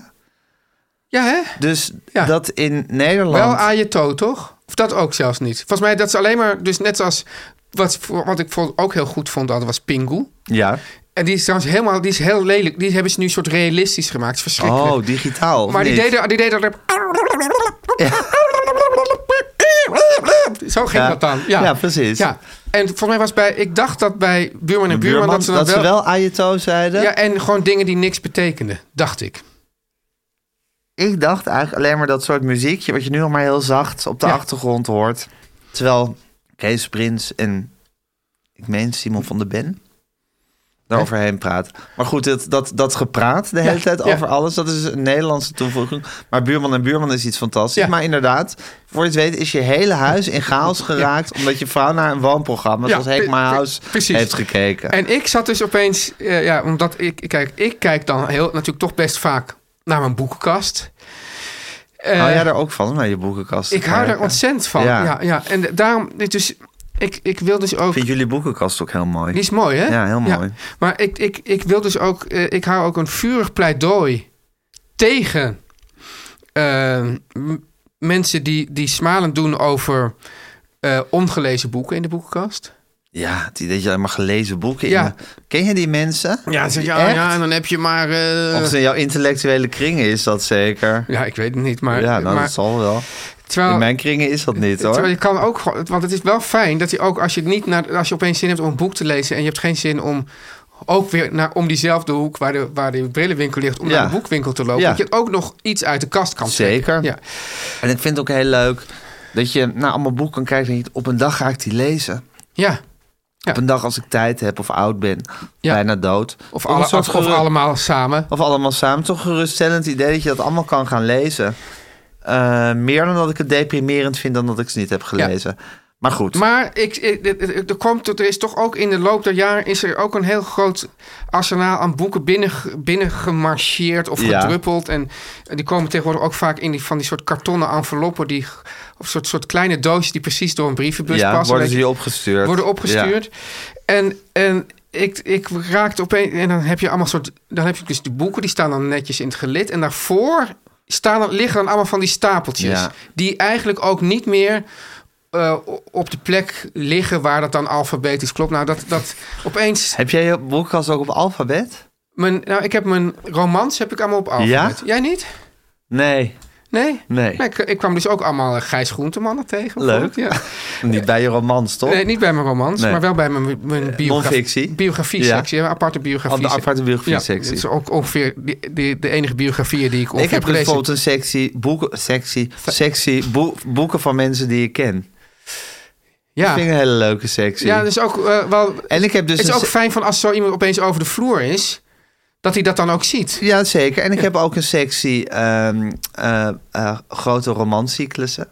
Speaker 1: Ja, hè?
Speaker 2: Dus
Speaker 1: Ja.
Speaker 2: dat in Nederland...
Speaker 1: Wel aan je toe, toch? Of dat ook zelfs niet. Volgens mij dat ze alleen maar, dus net zoals wat, wat ik vond, ook heel goed vond, altijd was Pingu.
Speaker 2: Ja.
Speaker 1: En die is trouwens helemaal, die is heel lelijk. Die hebben ze nu een soort realistisch gemaakt. Het is verschrikkelijk.
Speaker 2: Oh, digitaal. of
Speaker 1: maar die
Speaker 2: niet?
Speaker 1: deden, die deden er... Zo ging
Speaker 2: Ja.
Speaker 1: dat dan. Ja,
Speaker 2: Ja, precies.
Speaker 1: Ja. En volgens mij was bij, ik dacht dat bij Buurman en Buurman,
Speaker 2: Buurman,
Speaker 1: dat ze dan wel...
Speaker 2: Ajeto zeiden.
Speaker 1: ja, en gewoon dingen die niks betekenden, dacht ik.
Speaker 2: Ik dacht eigenlijk alleen maar dat soort muziekje... wat je nu nog maar heel zacht op de
Speaker 1: Ja.
Speaker 2: achtergrond hoort. Terwijl Kees Prins en ik meen Simon van de Ben daaroverheen praten. Maar goed, dat, dat, dat gepraat de hele tijd
Speaker 1: ja.
Speaker 2: over alles... dat is een Nederlandse toevoeging. Maar Buurman en Buurman is iets fantastisch.
Speaker 1: Ja.
Speaker 2: Maar inderdaad, voor je het weet is je hele huis in chaos geraakt... omdat je vrouw naar een woonprogramma
Speaker 1: Ja,
Speaker 2: zoals Heek
Speaker 1: pre-
Speaker 2: My
Speaker 1: pre-
Speaker 2: House
Speaker 1: precies.
Speaker 2: heeft gekeken.
Speaker 1: En ik zat dus opeens, eh, ja, omdat ik, kijk, ik kijk dan heel, natuurlijk toch best vaak naar mijn boekenkast. Eh,
Speaker 2: Hou jij daar ook van, naar je boekenkast?
Speaker 1: ik hou
Speaker 2: daar
Speaker 1: daar ontzettend van.
Speaker 2: Ja.
Speaker 1: Ja, ja, En daarom, dus, ik, ik wil dus ook.
Speaker 2: Ik vind jullie boekenkast ook heel mooi.
Speaker 1: Die is mooi, hè?
Speaker 2: Ja, heel mooi.
Speaker 1: Maar ik, ik, ik wil dus ook, eh, ik hou ook een vurig pleidooi tegen eh, m- mensen die, die smalend doen over eh, ongelezen boeken in de boekenkast.
Speaker 2: Ja, het idee dat je alleen maar gelezen boeken
Speaker 1: Ja.
Speaker 2: in... Ken je die mensen?
Speaker 1: Ja, ze ja,
Speaker 2: Echt?
Speaker 1: ja, en dan heb je maar. eh,
Speaker 2: Of het in jouw intellectuele kringen is dat zeker.
Speaker 1: ja, ik weet het niet, maar,
Speaker 2: ja, nou,
Speaker 1: maar Oh.
Speaker 2: dat zal wel.
Speaker 1: terwijl,
Speaker 2: in mijn kringen is dat niet, hoor.
Speaker 1: Terwijl je kan ook, gewoon- want het is wel fijn dat je ook als je niet naar, als je opeens zin hebt om een boek te lezen en je hebt geen zin om ook weer naar, om diezelfde hoek waar de, waar de brillenwinkel ligt, om
Speaker 2: Ja.
Speaker 1: naar de boekwinkel te lopen,
Speaker 2: Ja.
Speaker 1: dat je ook nog iets uit de kast kan trekken.
Speaker 2: Zeker.
Speaker 1: Ja.
Speaker 2: En ik vind het ook heel leuk dat je naar allemaal boeken kan kijken... en je denkt, op een dag ga ik die lezen.
Speaker 1: ja.
Speaker 2: Op een dag als ik tijd heb of oud ben,
Speaker 1: Ja.
Speaker 2: bijna dood.
Speaker 1: Of,
Speaker 2: Toch een
Speaker 1: alle,
Speaker 2: soort
Speaker 1: of, of
Speaker 2: geru-
Speaker 1: allemaal samen.
Speaker 2: Of allemaal samen. Toch geruststellend idee dat je dat allemaal kan gaan lezen. Eh, meer dan dat ik het deprimerend vind dan dat ik ze niet heb gelezen. Maar goed.
Speaker 1: Maar ik, ik- dit- dit- er, komt, er is toch ook in de loop der jaren is er ook een heel groot arsenaal aan boeken binnen, binnen gemarcheerd of
Speaker 2: Ja.
Speaker 1: gedruppeld. En die komen tegenwoordig ook vaak in die, van die soort kartonnen enveloppen. Die, of soort, soort kleine doosjes die precies door een brievenbus
Speaker 2: ja,
Speaker 1: passen.
Speaker 2: worden
Speaker 1: weet
Speaker 2: ze
Speaker 1: je.
Speaker 2: je opgestuurd.
Speaker 1: worden
Speaker 2: Ja.
Speaker 1: opgestuurd. En, en ik, ik raakte opeens... En dan heb je allemaal soort... Dan heb je dus de boeken, die staan dan netjes in het gelid. En daarvoor staan, dan- liggen dan allemaal van die stapeltjes.
Speaker 2: Ja.
Speaker 1: Die eigenlijk ook niet meer... eh, o- op de plek liggen waar dat dan alfabetisch klopt. Nou, dat, dat opeens...
Speaker 2: Heb jij je boekenkast ook op alfabet?
Speaker 1: Mijn, nou, ik heb mijn romans heb ik allemaal op alfabet.
Speaker 2: Ja?
Speaker 1: Jij niet?
Speaker 2: Nee.
Speaker 1: Nee?
Speaker 2: Nee.
Speaker 1: ik, ik kwam dus ook allemaal eh, Gijs Groentemannen tegen.
Speaker 2: Leuk.
Speaker 1: bijvoorbeeld, Ja.
Speaker 2: Niet bij je romans, toch?
Speaker 1: Nee, niet bij mijn romans,
Speaker 2: Nee. Eh,
Speaker 1: maar wel bij mijn, mijn
Speaker 2: non-fictie?
Speaker 1: biografie, biografie-sectie.
Speaker 2: Ja.
Speaker 1: Een aparte biografie.
Speaker 2: Oh, de aparte biografie-sectie.
Speaker 1: Ja, dat is ook ongeveer die, die- de enige biografieën die ik ongeveer
Speaker 2: ik heb dus
Speaker 1: gelezen
Speaker 2: bijvoorbeeld een sectie boeken, sectie, sectie boe- boeken van mensen die ik ken. Dat vind ik
Speaker 1: Ja,
Speaker 2: een hele leuke sectie.
Speaker 1: ja dus ook eh, wel...
Speaker 2: En ik heb dus
Speaker 1: het is
Speaker 2: een
Speaker 1: ook
Speaker 2: se-
Speaker 1: fijn van als zo iemand opeens over de vloer is, dat hij dat dan ook ziet.
Speaker 2: Ja, zeker. En ik heb ook een sectie ehm, eh, eh, grote romanscyclussen.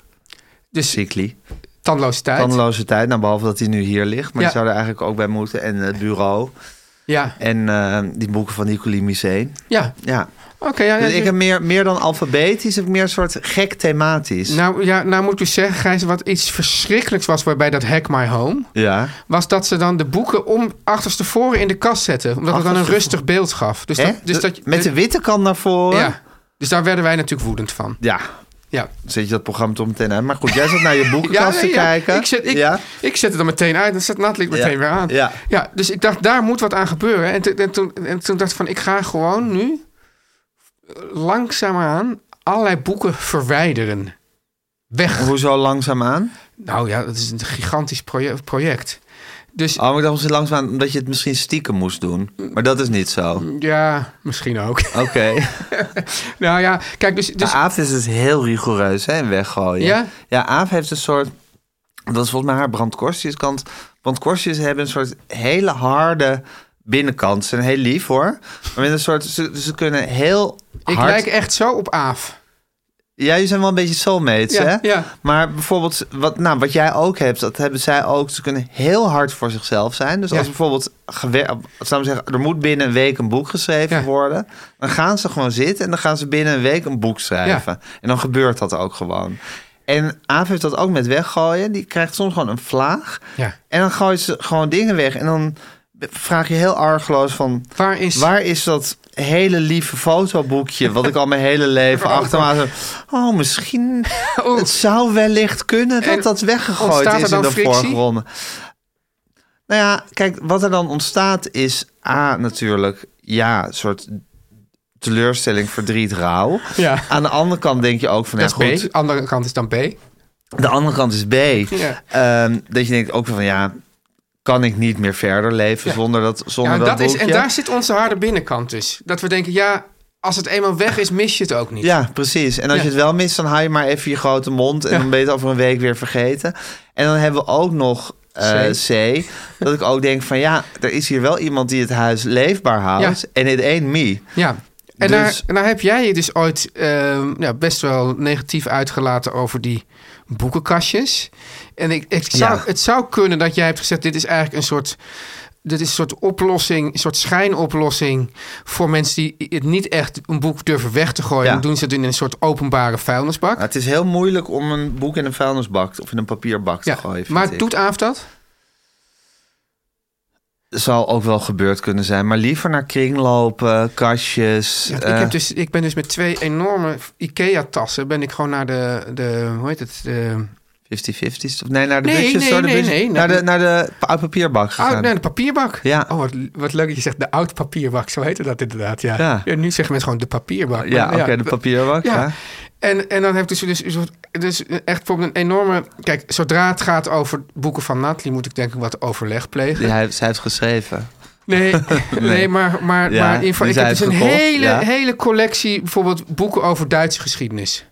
Speaker 1: Dus
Speaker 2: Cycli.
Speaker 1: tandloze tijd.
Speaker 2: Tandeloze tijd, nou, behalve dat die nu hier ligt. Maar
Speaker 1: Ja.
Speaker 2: die zou er eigenlijk ook bij moeten. En ehm, het bureau.
Speaker 1: Ja,
Speaker 2: En eh, die boeken van Nicolie Missé.
Speaker 1: ja.
Speaker 2: Ja.
Speaker 1: Oké, ja, ja,
Speaker 2: Dus ik
Speaker 1: ja.
Speaker 2: heb meer, meer dan alfabetisch, heb ik meer een soort gek thematisch.
Speaker 1: Nou, ja, nou moet ik dus zeggen, Gijs, wat iets verschrikkelijks was waarbij dat Hack My Home...
Speaker 2: ja.
Speaker 1: was dat ze dan de boeken om achterstevoren in de kast zetten. Omdat het dan een rustig beeld gaf. Dus
Speaker 2: Hè?
Speaker 1: dat, dus dat,
Speaker 2: Met de witte kant naar voren.
Speaker 1: Ja. Dus daar werden wij natuurlijk woedend van.
Speaker 2: Ja,
Speaker 1: Ja.
Speaker 2: dan zet je dat programma toch meteen uit. Maar goed, jij zat naar je boekenkast
Speaker 1: nee,
Speaker 2: te kijken.
Speaker 1: Ik zet, ik,
Speaker 2: ja.
Speaker 1: ik zet het dan meteen uit en zet Natalie meteen
Speaker 2: Ja.
Speaker 1: weer aan.
Speaker 2: Ja.
Speaker 1: dus ik dacht, daar moet wat aan gebeuren. En, te- en toen, en toen dacht ik van, ik ga gewoon nu langzaamaan allerlei boeken verwijderen. Weg.
Speaker 2: Hoezo langzaamaan?
Speaker 1: Nou ja, dat is een gigantisch proje- project. Dus
Speaker 2: Oh, maar ik dacht misschien langzaamaan omdat je het misschien stiekem moest doen. Maar dat is niet zo.
Speaker 1: Mm.
Speaker 2: Oké.
Speaker 1: ja, misschien ook. nou ja, kijk, dus... dus
Speaker 2: Maar Aaf is dus heel rigoureus hè, in weggooien.
Speaker 1: Ja?
Speaker 2: ja, Aaf heeft een soort... Dat is volgens mij haar brandkorstjeskant. Brandkorstjes hebben een soort hele harde binnenkant. Ze zijn heel lief hoor. Maar met een soort... Ze, ze kunnen heel
Speaker 1: ik
Speaker 2: hard...
Speaker 1: lijk echt zo op Aaf.
Speaker 2: Ja, je zijn wel een beetje soulmates,
Speaker 1: Ja,
Speaker 2: hè?
Speaker 1: ja.
Speaker 2: Maar bijvoorbeeld, wat, nou, wat jij ook hebt, dat hebben zij ook. Ze kunnen heel hard voor zichzelf zijn. Dus
Speaker 1: Ja.
Speaker 2: als bijvoorbeeld, gewer- laten we zeggen, er moet binnen een week een boek geschreven
Speaker 1: Ja.
Speaker 2: worden. Dan gaan ze gewoon zitten en dan gaan ze binnen een week een boek schrijven. En dan gebeurt dat ook gewoon. En Aaf heeft dat ook met weggooien. Die krijgt soms gewoon een vlaag.
Speaker 1: Ja.
Speaker 2: En dan gooit ze gewoon dingen weg. En dan vraag je heel argeloos van...
Speaker 1: Waar is...
Speaker 2: Waar is dat hele lieve fotoboekje wat ik al mijn hele leven achter me aan heb? Oh, misschien.
Speaker 1: Oeh.
Speaker 2: Het zou wellicht kunnen dat
Speaker 1: En
Speaker 2: dat weggegooid
Speaker 1: ontstaat er
Speaker 2: is in
Speaker 1: dan
Speaker 2: de
Speaker 1: frictie?
Speaker 2: voorgronden. Nou ja, kijk, wat er dan ontstaat is A natuurlijk, ja, een soort teleurstelling, verdriet, rouw.
Speaker 1: Ja.
Speaker 2: Aan de andere kant denk je ook van, ja,
Speaker 1: Dat is
Speaker 2: goed,
Speaker 1: B. Andere kant is dan B.
Speaker 2: de andere kant is B.
Speaker 1: Ja.
Speaker 2: Ehm, dat je denkt ook van, ja, kan ik niet meer verder leven zonder dat zonder
Speaker 1: Ja, en,
Speaker 2: dat,
Speaker 1: dat is, en
Speaker 2: boekje?
Speaker 1: daar zit onze harde binnenkant dus. Dat we denken, ja, als het eenmaal weg is, mis je het ook niet.
Speaker 2: Ja, precies. En als
Speaker 1: Ja.
Speaker 2: je het wel mist, dan hou je maar even je grote mond. En
Speaker 1: Ja.
Speaker 2: dan ben je het over een week weer vergeten. En dan hebben we ook nog eh,
Speaker 1: C.
Speaker 2: C. Dat ik ook denk van ja, er is hier wel iemand die het huis leefbaar houdt.
Speaker 1: Ja.
Speaker 2: En it ain't me.
Speaker 1: Ja. En,
Speaker 2: Dus-
Speaker 1: daar, en daar heb jij je dus ooit ehm, ja, best wel negatief uitgelaten over die boekenkastjes. En ik, ik zou,
Speaker 2: Ja.
Speaker 1: het zou kunnen dat jij hebt gezegd, dit is eigenlijk een soort... Dit is een soort oplossing, een soort schijnoplossing voor mensen die het niet echt een boek durven weg te gooien.
Speaker 2: Ja.
Speaker 1: Dan doen ze het in een soort openbare vuilnisbak.
Speaker 2: Maar het is heel moeilijk om een boek in een vuilnisbak of in een papierbak te
Speaker 1: ja.
Speaker 2: gooien. vind
Speaker 1: maar
Speaker 2: ik.
Speaker 1: doet Aaf dat?
Speaker 2: Zou ook wel gebeurd kunnen zijn. Maar liever naar kringlopen, kastjes.
Speaker 1: Ja, ik,
Speaker 2: eh,
Speaker 1: heb dus, ik ben dus met twee enorme IKEA-tassen... ben ik gewoon naar de, de hoe heet het... De,
Speaker 2: 50-50's. Of nee, naar de
Speaker 1: Nee,
Speaker 2: busjes.
Speaker 1: nee,
Speaker 2: zo, de
Speaker 1: nee,
Speaker 2: busjes-
Speaker 1: nee,
Speaker 2: Naar
Speaker 1: nee.
Speaker 2: de, naar de oud papierbak gegaan.
Speaker 1: oud, ah, nee, de papierbak.
Speaker 2: Ah, Ja.
Speaker 1: Oh, wat, wat leuk dat je zegt de oud papierbak. Zo heette dat inderdaad, ja.
Speaker 2: Ja.
Speaker 1: nu zeggen mensen gewoon de papierbak.
Speaker 2: Ja,
Speaker 1: maar
Speaker 2: oké, de papierbak.
Speaker 1: Ja.
Speaker 2: ja.
Speaker 1: En, en dan heb ik dus, dus, een soort- dus echt bijvoorbeeld een enorme... Kijk, zodra het gaat over boeken van Natalie... moet ik denk ik wat overleg plegen.
Speaker 2: Ja, hij, zij heeft geschreven.
Speaker 1: Nee, nee. maar, maar,
Speaker 2: Ja,
Speaker 1: maar in ieder geval,
Speaker 2: die
Speaker 1: ik
Speaker 2: zijn
Speaker 1: heb dus een
Speaker 2: gekocht,
Speaker 1: hele,
Speaker 2: ja.
Speaker 1: hele collectie bijvoorbeeld boeken over Duitse geschiedenis.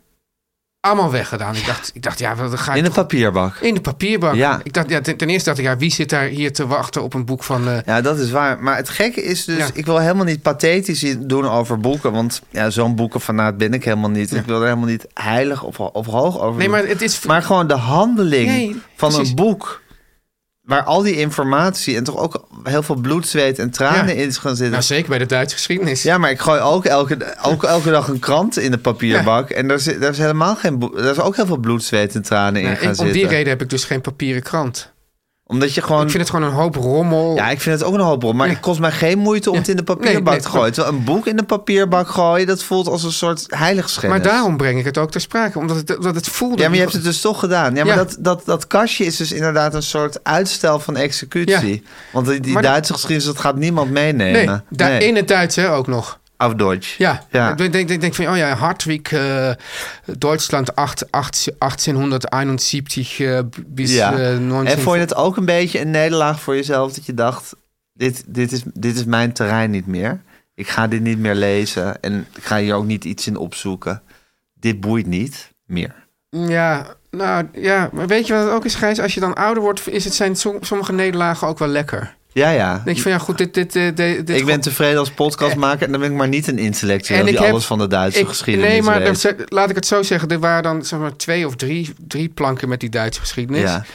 Speaker 1: Allemaal weggedaan. Ik dacht, ik dacht ja, dan ga ik
Speaker 2: In een
Speaker 1: toch-
Speaker 2: papierbak.
Speaker 1: In de papierbak.
Speaker 2: Ja.
Speaker 1: Ik dacht, ja, ten, ten eerste dacht ik, ja, wie zit daar hier te wachten op een boek van... eh,
Speaker 2: Ja, dat is waar. Maar het gekke is dus,
Speaker 1: Ja.
Speaker 2: ik wil helemaal niet pathetisch doen over boeken. Want ja, zo'n boekenfanaat ben ik helemaal niet. Ik wil er helemaal niet heilig of, of hoog over
Speaker 1: Nee,
Speaker 2: doen.
Speaker 1: maar het is...
Speaker 2: Maar gewoon de handeling
Speaker 1: Nee,
Speaker 2: van
Speaker 1: precies.
Speaker 2: een boek. Waar al die informatie en toch ook heel veel bloed, zweet en tranen
Speaker 1: Ja.
Speaker 2: in is gaan zitten.
Speaker 1: nou, zeker bij de Duitse geschiedenis.
Speaker 2: ja, maar ik gooi ook elke, ook elke dag een krant in de papierbak. En daar, zit, daar is helemaal geen. boek- Daar is ook heel veel bloed, zweet en tranen
Speaker 1: Nou,
Speaker 2: in gaan
Speaker 1: ik- om
Speaker 2: zitten.
Speaker 1: die reden heb ik dus geen papieren krant.
Speaker 2: Omdat je gewoon.
Speaker 1: Ik vind het gewoon een hoop rommel.
Speaker 2: Ja, ik vind het ook een hoop bron. Maar
Speaker 1: Ja.
Speaker 2: het kost mij geen moeite om het in de
Speaker 1: Nee,
Speaker 2: papierbak
Speaker 1: nee,
Speaker 2: te gooien. Terwijl een boek in de papierbak gooien, dat voelt als een soort heiligschennis.
Speaker 1: maar daarom breng ik het ook ter sprake. Omdat het, omdat het voelde...
Speaker 2: Ja, maar je hebt het dus toch gedaan. Ja, maar
Speaker 1: Ja.
Speaker 2: Dat, dat, dat kastje is dus inderdaad een soort uitstel van executie. Want die, die
Speaker 1: Maar-
Speaker 2: Duitse geschiedenis, dat gaat niemand meenemen.
Speaker 1: Nee, daar, in het Duits hè, ook nog.
Speaker 2: Auf Deutsch.
Speaker 1: Ja,
Speaker 2: ja.
Speaker 1: ik denk, denk, denk van, oh ja, Hartwig, eh, Duitsland 8, 8, 1871 eh, b- bis
Speaker 2: Ja.
Speaker 1: eh, 19...
Speaker 2: En vond je het ook een beetje een nederlaag voor jezelf dat je dacht: dit, dit, is, dit is mijn terrein niet meer. Ik ga dit niet meer lezen en ik ga hier ook niet iets in opzoeken. Dit boeit niet meer.
Speaker 1: Ja, nou ja, maar weet je wat het ook is, Gijs? Als je dan ouder wordt, is het, zijn som- sommige nederlagen ook wel lekker. Dan
Speaker 2: Ja, ja.
Speaker 1: denk je van, ja goed, dit... dit, eh, dit, dit
Speaker 2: ik ben
Speaker 1: gewoon-
Speaker 2: tevreden als podcastmaker en dan ben ik maar niet een intellectueel die
Speaker 1: heb-
Speaker 2: alles van de Duitse
Speaker 1: ik-
Speaker 2: geschiedenis
Speaker 1: Nee, maar
Speaker 2: weet.
Speaker 1: dat- laat ik het zo zeggen. Er waren dan zeg maar, twee of drie, drie planken met die Duitse geschiedenis.
Speaker 2: Ja.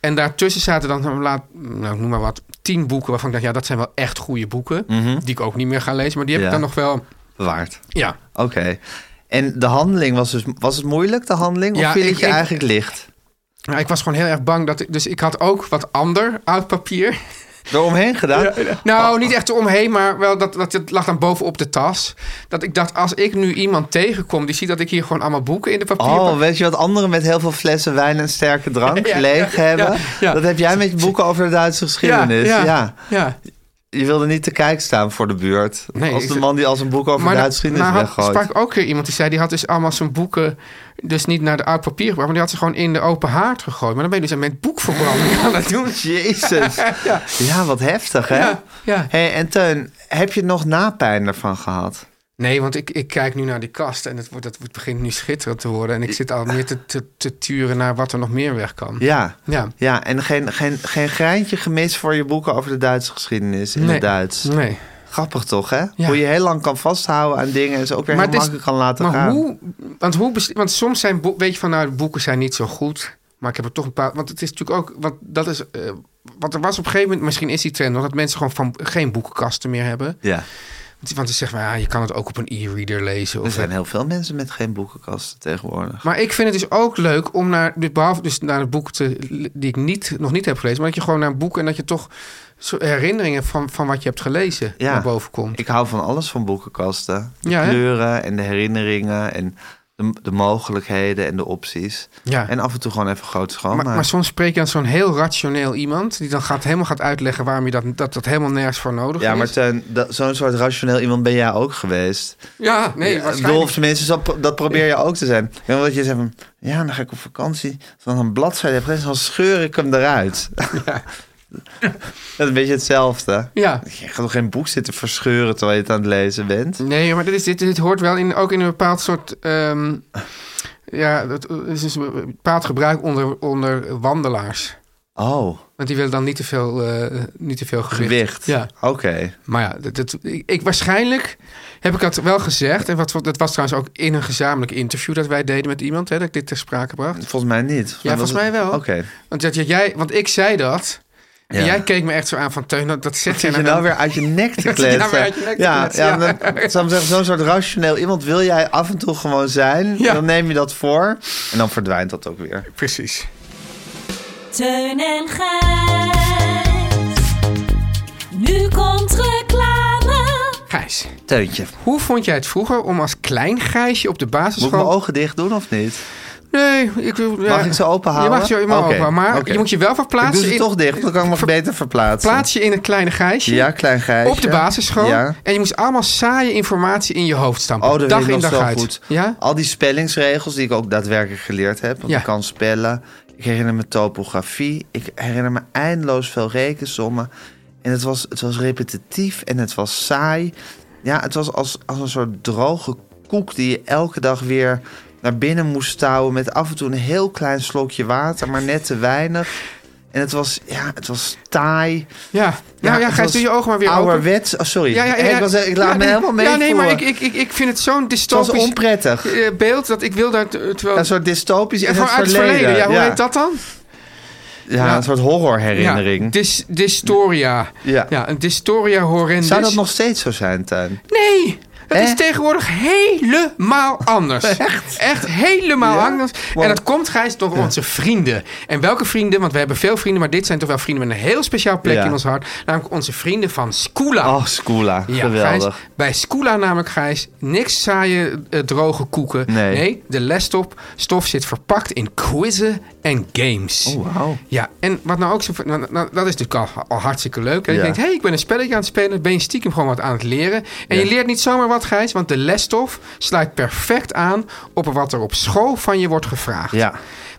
Speaker 1: En daartussen zaten dan, zeg maar, laat, nou, ik noem maar wat, tien boeken... waarvan ik dacht, ja, dat zijn wel echt goede boeken. Die ik ook niet meer ga lezen. Maar die heb
Speaker 2: Mhm. Ja.
Speaker 1: ik dan nog wel
Speaker 2: bewaard.
Speaker 1: Ja.
Speaker 2: Oké. En de handeling was dus... Was het moeilijk, de handeling?
Speaker 1: Ja,
Speaker 2: of viel
Speaker 1: ik-
Speaker 2: het je
Speaker 1: ik-
Speaker 2: eigenlijk licht?
Speaker 1: Nou, ik was gewoon heel erg bang. Dat, ik- dus ik had ook wat ander oud papier.
Speaker 2: Eromheen gedaan? Oh.
Speaker 1: Nou, niet echt eromheen, maar wel dat, dat het lag dan bovenop de tas. Dat ik dacht, als ik nu iemand tegenkom die ziet dat ik hier gewoon allemaal boeken in de papier...
Speaker 2: Oh, weet je wat anderen met heel veel flessen wijn en sterke drank
Speaker 1: Ja,
Speaker 2: leeg
Speaker 1: ja,
Speaker 2: hebben?
Speaker 1: ja, ja.
Speaker 2: Dat heb jij met je boeken over de Duitse geschiedenis. Ja,
Speaker 1: ja, ja.
Speaker 2: Je wilde niet te kijk staan voor de buurt.
Speaker 1: Nee,
Speaker 2: als de
Speaker 1: ik-
Speaker 2: man die als een boek over de
Speaker 1: dat-
Speaker 2: Duitse geschiedenis
Speaker 1: maar had,
Speaker 2: weggooit.
Speaker 1: sprak ook weer iemand die zei... die had dus allemaal zijn boeken dus niet naar de oud papier gebracht... maar die had ze gewoon in de open haard gegooid. Maar dan ben je dus met boekverbranding aan het doen.
Speaker 2: Jezus. ja. wat heftig, hè?
Speaker 1: Ja, ja.
Speaker 2: Hey, en Teun, heb je nog napijn ervan gehad?
Speaker 1: Nee, want ik, ik kijk nu naar die kast... en het, wordt, dat wordt- begint nu schitterend te worden... en ik zit al meer te, te, te turen naar wat er nog meer weg kan.
Speaker 2: Ja.
Speaker 1: Ja.
Speaker 2: Ja, en geen, geen, geen greintje gemist voor je boeken over de Duitse geschiedenis in
Speaker 1: Nee.
Speaker 2: het Duits.
Speaker 1: Nee.
Speaker 2: Grappig toch, hè?
Speaker 1: Ja.
Speaker 2: Hoe je heel lang kan vasthouden aan dingen en ze ook weer heel
Speaker 1: het is-
Speaker 2: makkelijk kan laten
Speaker 1: maar
Speaker 2: gaan.
Speaker 1: Hoe, want, hoe bes- want soms zijn boek- weet je van nou, de boeken zijn niet zo goed. Maar ik heb er toch een paar. Want het is natuurlijk ook. Want dat is. eh, want er was op een gegeven moment, misschien is die trend nog, dat mensen gewoon van geen boekenkasten meer hebben.
Speaker 2: Ja.
Speaker 1: Want want ze zeggen, maar, ja, je kan het ook op een e-reader lezen.
Speaker 2: Er
Speaker 1: Of,
Speaker 2: zijn heel veel mensen met geen boekenkasten tegenwoordig.
Speaker 1: maar ik vind het dus ook leuk om naar, dus behalve dus naar het boek te, die ik niet, nog niet heb gelezen, maar dat je gewoon naar een boek en dat je toch zo- herinneringen van, van wat je hebt gelezen
Speaker 2: Ja.
Speaker 1: naar boven komt.
Speaker 2: Ik hou van alles van boekenkasten. De
Speaker 1: Ja, hè?
Speaker 2: kleuren en de herinneringen en de, de mogelijkheden en de opties.
Speaker 1: Ja.
Speaker 2: En af en toe gewoon even groot schoonmaken.
Speaker 1: Maar, maar soms spreek je aan zo'n heel rationeel iemand... die dan gaat, helemaal gaat uitleggen waarom je dat, dat, dat helemaal nergens voor nodig
Speaker 2: ja, maar
Speaker 1: is.
Speaker 2: Teun, dat- zo'n soort rationeel iemand ben jij ook geweest.
Speaker 1: Ja, nee,
Speaker 2: Ja, ik bedoel,
Speaker 1: waarschijnlijk.
Speaker 2: of tenminste, zo pro- dat probeer je ook te zijn. En omdat je zegt van, ja, dan ga ik op vakantie. Als dan een bladzijde heb gelezen, dan scheur ik hem eruit. dat is een beetje hetzelfde.
Speaker 1: Ja.
Speaker 2: Je gaat toch geen boek zitten verscheuren terwijl je het aan het lezen bent?
Speaker 1: Nee, maar dit, is, dit, dit hoort wel in, ook in een bepaald soort... ehm, ja, dat is dus een bepaald gebruik onder, onder wandelaars.
Speaker 2: Oh,
Speaker 1: Want die willen dan niet te veel, eh, niet te veel gewicht.
Speaker 2: gewicht.
Speaker 1: Ja,
Speaker 2: Oké.
Speaker 1: maar ja, dat, dat- ik, ik- waarschijnlijk heb ik dat wel gezegd. En wat, dat was trouwens ook in een gezamenlijk interview dat wij deden met iemand... Hè, dat ik dit ter sprake bracht.
Speaker 2: Volgens mij niet. Volgens
Speaker 1: Ja,
Speaker 2: was
Speaker 1: volgens
Speaker 2: het-
Speaker 1: mij wel.
Speaker 2: Oké.
Speaker 1: Want, dat, jij, want ik zei dat. En
Speaker 2: Ja.
Speaker 1: jij keek me echt zo aan van Teun, dat, dat zet jij
Speaker 2: Zit je nou weer uit je nek te
Speaker 1: Dat zit je nou weer
Speaker 2: kletsen?
Speaker 1: uit je nek te
Speaker 2: Ja,
Speaker 1: kletsen,
Speaker 2: ja,
Speaker 1: ja.
Speaker 2: maar dan- ik zou maar zeggen, zo'n soort rationeel iemand wil jij af en toe gewoon zijn.
Speaker 1: Ja.
Speaker 2: Dan neem je dat voor en dan verdwijnt dat ook weer.
Speaker 1: Precies.
Speaker 4: Teun en Gijs. Nu komt reclame.
Speaker 1: Gijs,
Speaker 2: Teuntje,
Speaker 1: hoe vond jij het vroeger om als klein Gijsje op de
Speaker 2: moet ik mijn
Speaker 1: basisschool...
Speaker 2: ogen dicht doen of niet?
Speaker 1: Nee, ik wil... ja.
Speaker 2: Mag ik ze openhalen?
Speaker 1: Je mag ze helemaal
Speaker 2: Oké,
Speaker 1: openhalen, maar
Speaker 2: oké.
Speaker 1: je moet je wel
Speaker 2: Ik doe
Speaker 1: verplaatsen
Speaker 2: ze
Speaker 1: in...
Speaker 2: toch dicht, want dan kan ik me beter verplaatsen.
Speaker 1: Plaats je in het kleine Gijsje.
Speaker 2: Ja, klein gijsje.
Speaker 1: Op de basisschool.
Speaker 2: Ja.
Speaker 1: En je moest allemaal saaie informatie in je hoofd stampen.
Speaker 2: Oh, dat
Speaker 1: dag
Speaker 2: weet ik
Speaker 1: in
Speaker 2: nog
Speaker 1: dag
Speaker 2: zo
Speaker 1: uit.
Speaker 2: goed.
Speaker 1: Ja?
Speaker 2: Al die spellingsregels die ik ook daadwerkelijk geleerd heb. Want
Speaker 1: Ja.
Speaker 2: ik kan spellen. Ik herinner me topografie. Ik herinner me eindeloos veel rekensommen. En het was, het was repetitief en het was saai. Ja, het was als, als een soort droge koek die je elke dag weer naar binnen moest touwen. Met af en toe een heel klein slokje water, maar net te weinig. En het was, ja, het was taai.
Speaker 1: Ja. Nou ja,
Speaker 2: het
Speaker 1: Gijs,
Speaker 2: was
Speaker 1: doe je ogen maar weer open.
Speaker 2: Ouderwets. Oh, sorry.
Speaker 1: Ja, ja, ja,
Speaker 2: Ik, was, ik laat
Speaker 1: Ja,
Speaker 2: me
Speaker 1: nee,
Speaker 2: helemaal mee
Speaker 1: Ja, nee, maar ik, ik, ik, ik vind het zo'n
Speaker 2: Het
Speaker 1: dystopisch...
Speaker 2: was onprettig.
Speaker 1: eh, beeld dat ik wil daar... eh, Terwijl...
Speaker 2: Ja, Een soort dystopisch
Speaker 1: Ja,
Speaker 2: in
Speaker 1: gewoon
Speaker 2: het
Speaker 1: uit het
Speaker 2: verleden.
Speaker 1: verleden. Ja, hoe heet dat dan?
Speaker 2: Ja,
Speaker 1: Ja.
Speaker 2: een soort horrorherinnering.
Speaker 1: Dys, dystoria.
Speaker 2: Ja.
Speaker 1: een dystoria horrendus.
Speaker 2: Zou dat nog steeds zo zijn, Tuin?
Speaker 1: Nee! Dat
Speaker 2: Eh?
Speaker 1: is tegenwoordig helemaal anders. Echt? Echt helemaal
Speaker 2: Ja?
Speaker 1: anders.
Speaker 2: Want-
Speaker 1: En dat komt, Gijs, door onze vrienden. En welke vrienden? Want we hebben veel vrienden, maar dit zijn toch wel vrienden met een heel speciaal plek
Speaker 2: Ja.
Speaker 1: in ons hart. Namelijk onze vrienden van Skoola.
Speaker 2: Oh, Skoola.
Speaker 1: Ja,
Speaker 2: Geweldig.
Speaker 1: Gijs, bij Skoola namelijk, Gijs, niks saaie eh, droge koeken.
Speaker 2: Nee.
Speaker 1: de lesstof stof zit verpakt in quizzen en games.
Speaker 2: Oh, wauw.
Speaker 1: Ja, en wat nou ook zo... nou, nou, dat is natuurlijk al, al hartstikke leuk. En
Speaker 2: Ja.
Speaker 1: je denkt, hé, hey, ik ben een spelletje aan het spelen. Ben je stiekem gewoon wat aan het leren. En
Speaker 2: Ja.
Speaker 1: je leert niet zomaar wat, Gijs. Want de lesstof sluit perfect aan op wat er op school van je wordt gevraagd.
Speaker 2: Ja.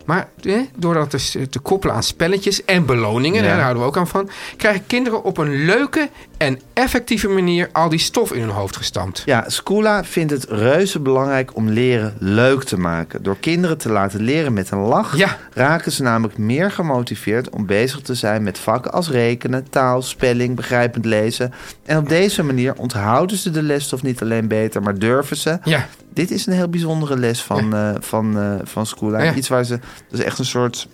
Speaker 1: Maar eh, door dat dus eh, te koppelen aan spelletjes en beloningen,
Speaker 2: Ja.
Speaker 1: hè, daar houden we ook aan van, krijgen kinderen op een leuke en effectieve manier al die stof in hun hoofd gestampt.
Speaker 2: Ja, Skoola vindt het reuze belangrijk om leren leuk te maken. Door kinderen te laten leren met een lach
Speaker 1: Ja.
Speaker 2: raken ze namelijk meer gemotiveerd om bezig te zijn met vakken als rekenen, taal, spelling, begrijpend lezen. En op deze manier onthouden ze de lesstof niet alleen beter, maar durven ze.
Speaker 1: Ja.
Speaker 2: Dit is een heel bijzondere les van, eh, van, eh, van Skoola.
Speaker 1: Ja.
Speaker 2: Iets waar ze. Dat is echt een soort.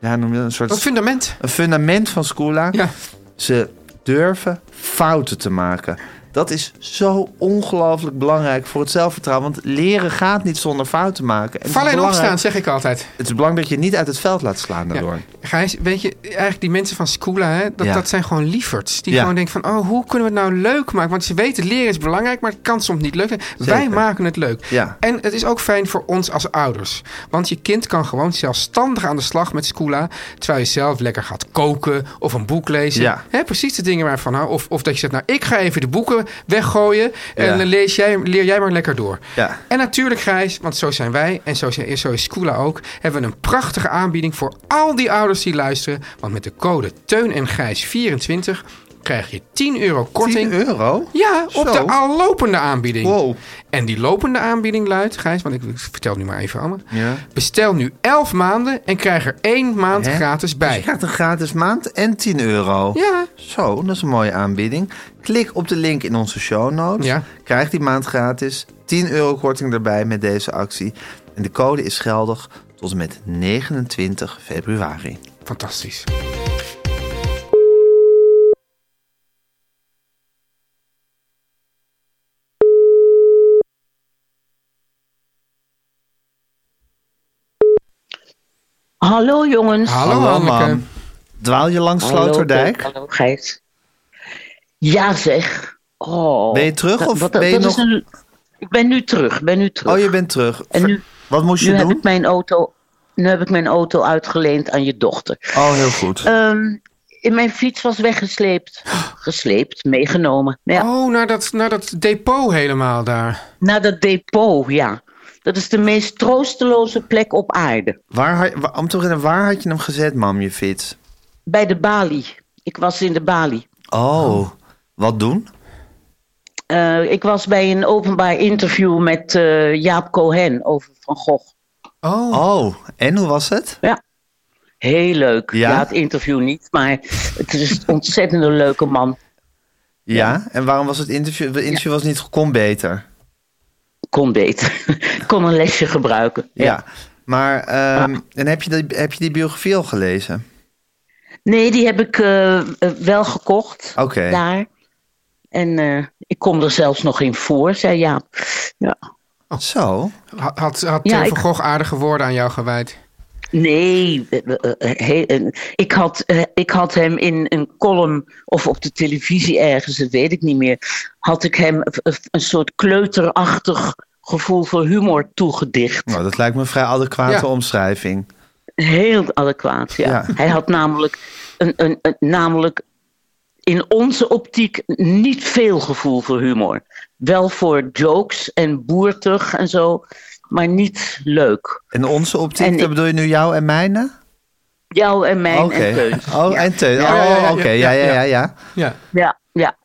Speaker 2: Ja, noem je dat? een soort.
Speaker 1: Dat fundament.
Speaker 2: een fundament van Skoola.
Speaker 1: Ja.
Speaker 2: Ze durven fouten te maken. Dat is zo ongelooflijk belangrijk voor het zelfvertrouwen. Want leren gaat niet zonder fouten maken. En het
Speaker 1: Vallen
Speaker 2: is
Speaker 1: en
Speaker 2: belangrijk-
Speaker 1: opstaan, zeg ik altijd.
Speaker 2: Het is belangrijk dat je niet uit het veld laat slaan daardoor.
Speaker 1: Gijs, weet je, eigenlijk die mensen van Scula, hè, dat,
Speaker 2: Ja.
Speaker 1: dat zijn gewoon lieverds. Die
Speaker 2: Ja.
Speaker 1: gewoon denken van, oh, hoe kunnen we het nou leuk maken? Want ze weten, leren is belangrijk, maar het kan soms niet leuk zijn. Wij maken het leuk.
Speaker 2: Ja.
Speaker 1: En het is ook fijn voor ons als ouders. Want je kind kan gewoon zelfstandig aan de slag met Scula... terwijl je zelf lekker gaat koken of een boek lezen.
Speaker 2: Ja.
Speaker 1: Hè, precies de dingen waarvan nou, of, of dat je zegt, nou, ik ga even de boeken weggooien... en
Speaker 2: Ja.
Speaker 1: dan lees jij, leer jij maar lekker door.
Speaker 2: Ja.
Speaker 1: En natuurlijk, Gijs, want zo zijn wij en zo, zijn, zo is Scula ook, hebben we een prachtige aanbieding voor al die ouders die luisteren. Want met de code Teun en Gijs 24 krijg je 10 euro korting.
Speaker 2: 10 euro?
Speaker 1: Ja, op
Speaker 2: Zo.
Speaker 1: de al lopende aanbieding.
Speaker 2: Wow.
Speaker 1: En die lopende aanbieding luidt, Gijs, want ik, ik vertel het nu maar even allemaal.
Speaker 2: Ja.
Speaker 1: Bestel nu 11 maanden en krijg er 1 maand
Speaker 2: Hè? Dus
Speaker 1: gratis
Speaker 2: Je
Speaker 1: bij.
Speaker 2: krijgt een gratis maand en 10 euro.
Speaker 1: Ja.
Speaker 2: Zo, dat is een mooie aanbieding. Klik op de link in onze show notes.
Speaker 1: Ja.
Speaker 2: Krijg die maand gratis. 10 euro korting erbij met deze actie. En de code is geldig tot en met 29 februari.
Speaker 1: Fantastisch.
Speaker 5: Hallo jongens.
Speaker 1: Hallo, Anneke.
Speaker 2: mam. Dwaal je langs
Speaker 5: Hallo,
Speaker 2: Sloterdijk?
Speaker 5: Teun. Hallo Gijs. Ja zeg. Oh.
Speaker 2: Ben je terug
Speaker 5: Dat-
Speaker 2: of
Speaker 5: wat-
Speaker 2: ben je
Speaker 5: dat is
Speaker 2: nog-
Speaker 5: een- Ik ben nu terug. Ben nu terug.
Speaker 2: Oh, je bent terug.
Speaker 5: En nu-
Speaker 2: Wat moest je
Speaker 5: nu heb
Speaker 2: doen?
Speaker 5: ik mijn auto. Nu heb ik mijn auto uitgeleend aan je dochter.
Speaker 2: Oh, heel goed.
Speaker 5: Ehm, in mijn fiets was weggesleept. Gesleept, meegenomen. Ja,
Speaker 1: Oh, naar dat, naar dat depot helemaal daar.
Speaker 5: Naar dat depot, ja. Dat is de meest troosteloze plek op aarde.
Speaker 2: Waar, had- wa- om te beginnen, waar had je hem gezet, mam, je fiets?
Speaker 5: Bij de balie. Ik was in de balie.
Speaker 2: Oh, wat doen?
Speaker 5: Eh, ik was bij een openbaar interview met eh, Jaap Cohen over Van Gogh.
Speaker 1: Oh,
Speaker 2: Oh, en hoe was het?
Speaker 5: Ja. Heel leuk.
Speaker 2: Ja?
Speaker 5: Ja? het interview niet, maar het is een ontzettend leuke man.
Speaker 2: Ja, en waarom was het interview? Het interview was niet kon beter.
Speaker 5: Kon beter. Kon een lesje gebruiken.
Speaker 2: Ja. Maar ehm, en heb, je die, heb je die biografie al gelezen?
Speaker 5: Nee, die heb ik eh, eh, wel gekocht.
Speaker 2: Oké.
Speaker 5: Daar. En eh, ik kom er zelfs nog in voor, zei Jaap. Ja. Oh.
Speaker 2: Zo.
Speaker 1: had, had, had
Speaker 5: Ja,
Speaker 1: Teun
Speaker 5: ik-
Speaker 1: van Gogh aardige woorden aan jou gewijd.
Speaker 5: Nee, eh, eh, eh, he- eh, ik had, eh, ik had hem in een column of op de televisie ergens, dat weet ik niet meer, had ik hem eh, eh, een soort kleuterachtig gevoel voor humor toegedicht.
Speaker 2: Nou, dat lijkt me een vrij adequate
Speaker 1: Ja.
Speaker 2: omschrijving.
Speaker 5: Heel adequaat, ja.
Speaker 2: Ja.
Speaker 5: Hij had namelijk, een, een, een- namelijk in onze optiek niet veel gevoel voor humor. Wel voor jokes en boertig en zo, maar niet leuk.
Speaker 2: En onze optiek,
Speaker 5: En
Speaker 2: dat
Speaker 5: ik-
Speaker 2: bedoel je nu jou en mijne?
Speaker 5: Jou en mijn en Teun.
Speaker 2: Oh, en Teun.
Speaker 5: Ja.
Speaker 2: Oh,
Speaker 1: Ja, ja, ja,
Speaker 2: oké.
Speaker 1: ja,
Speaker 2: Ja, ja,
Speaker 1: ja.
Speaker 2: ja, ja.
Speaker 1: Ja.
Speaker 5: Ja, ja.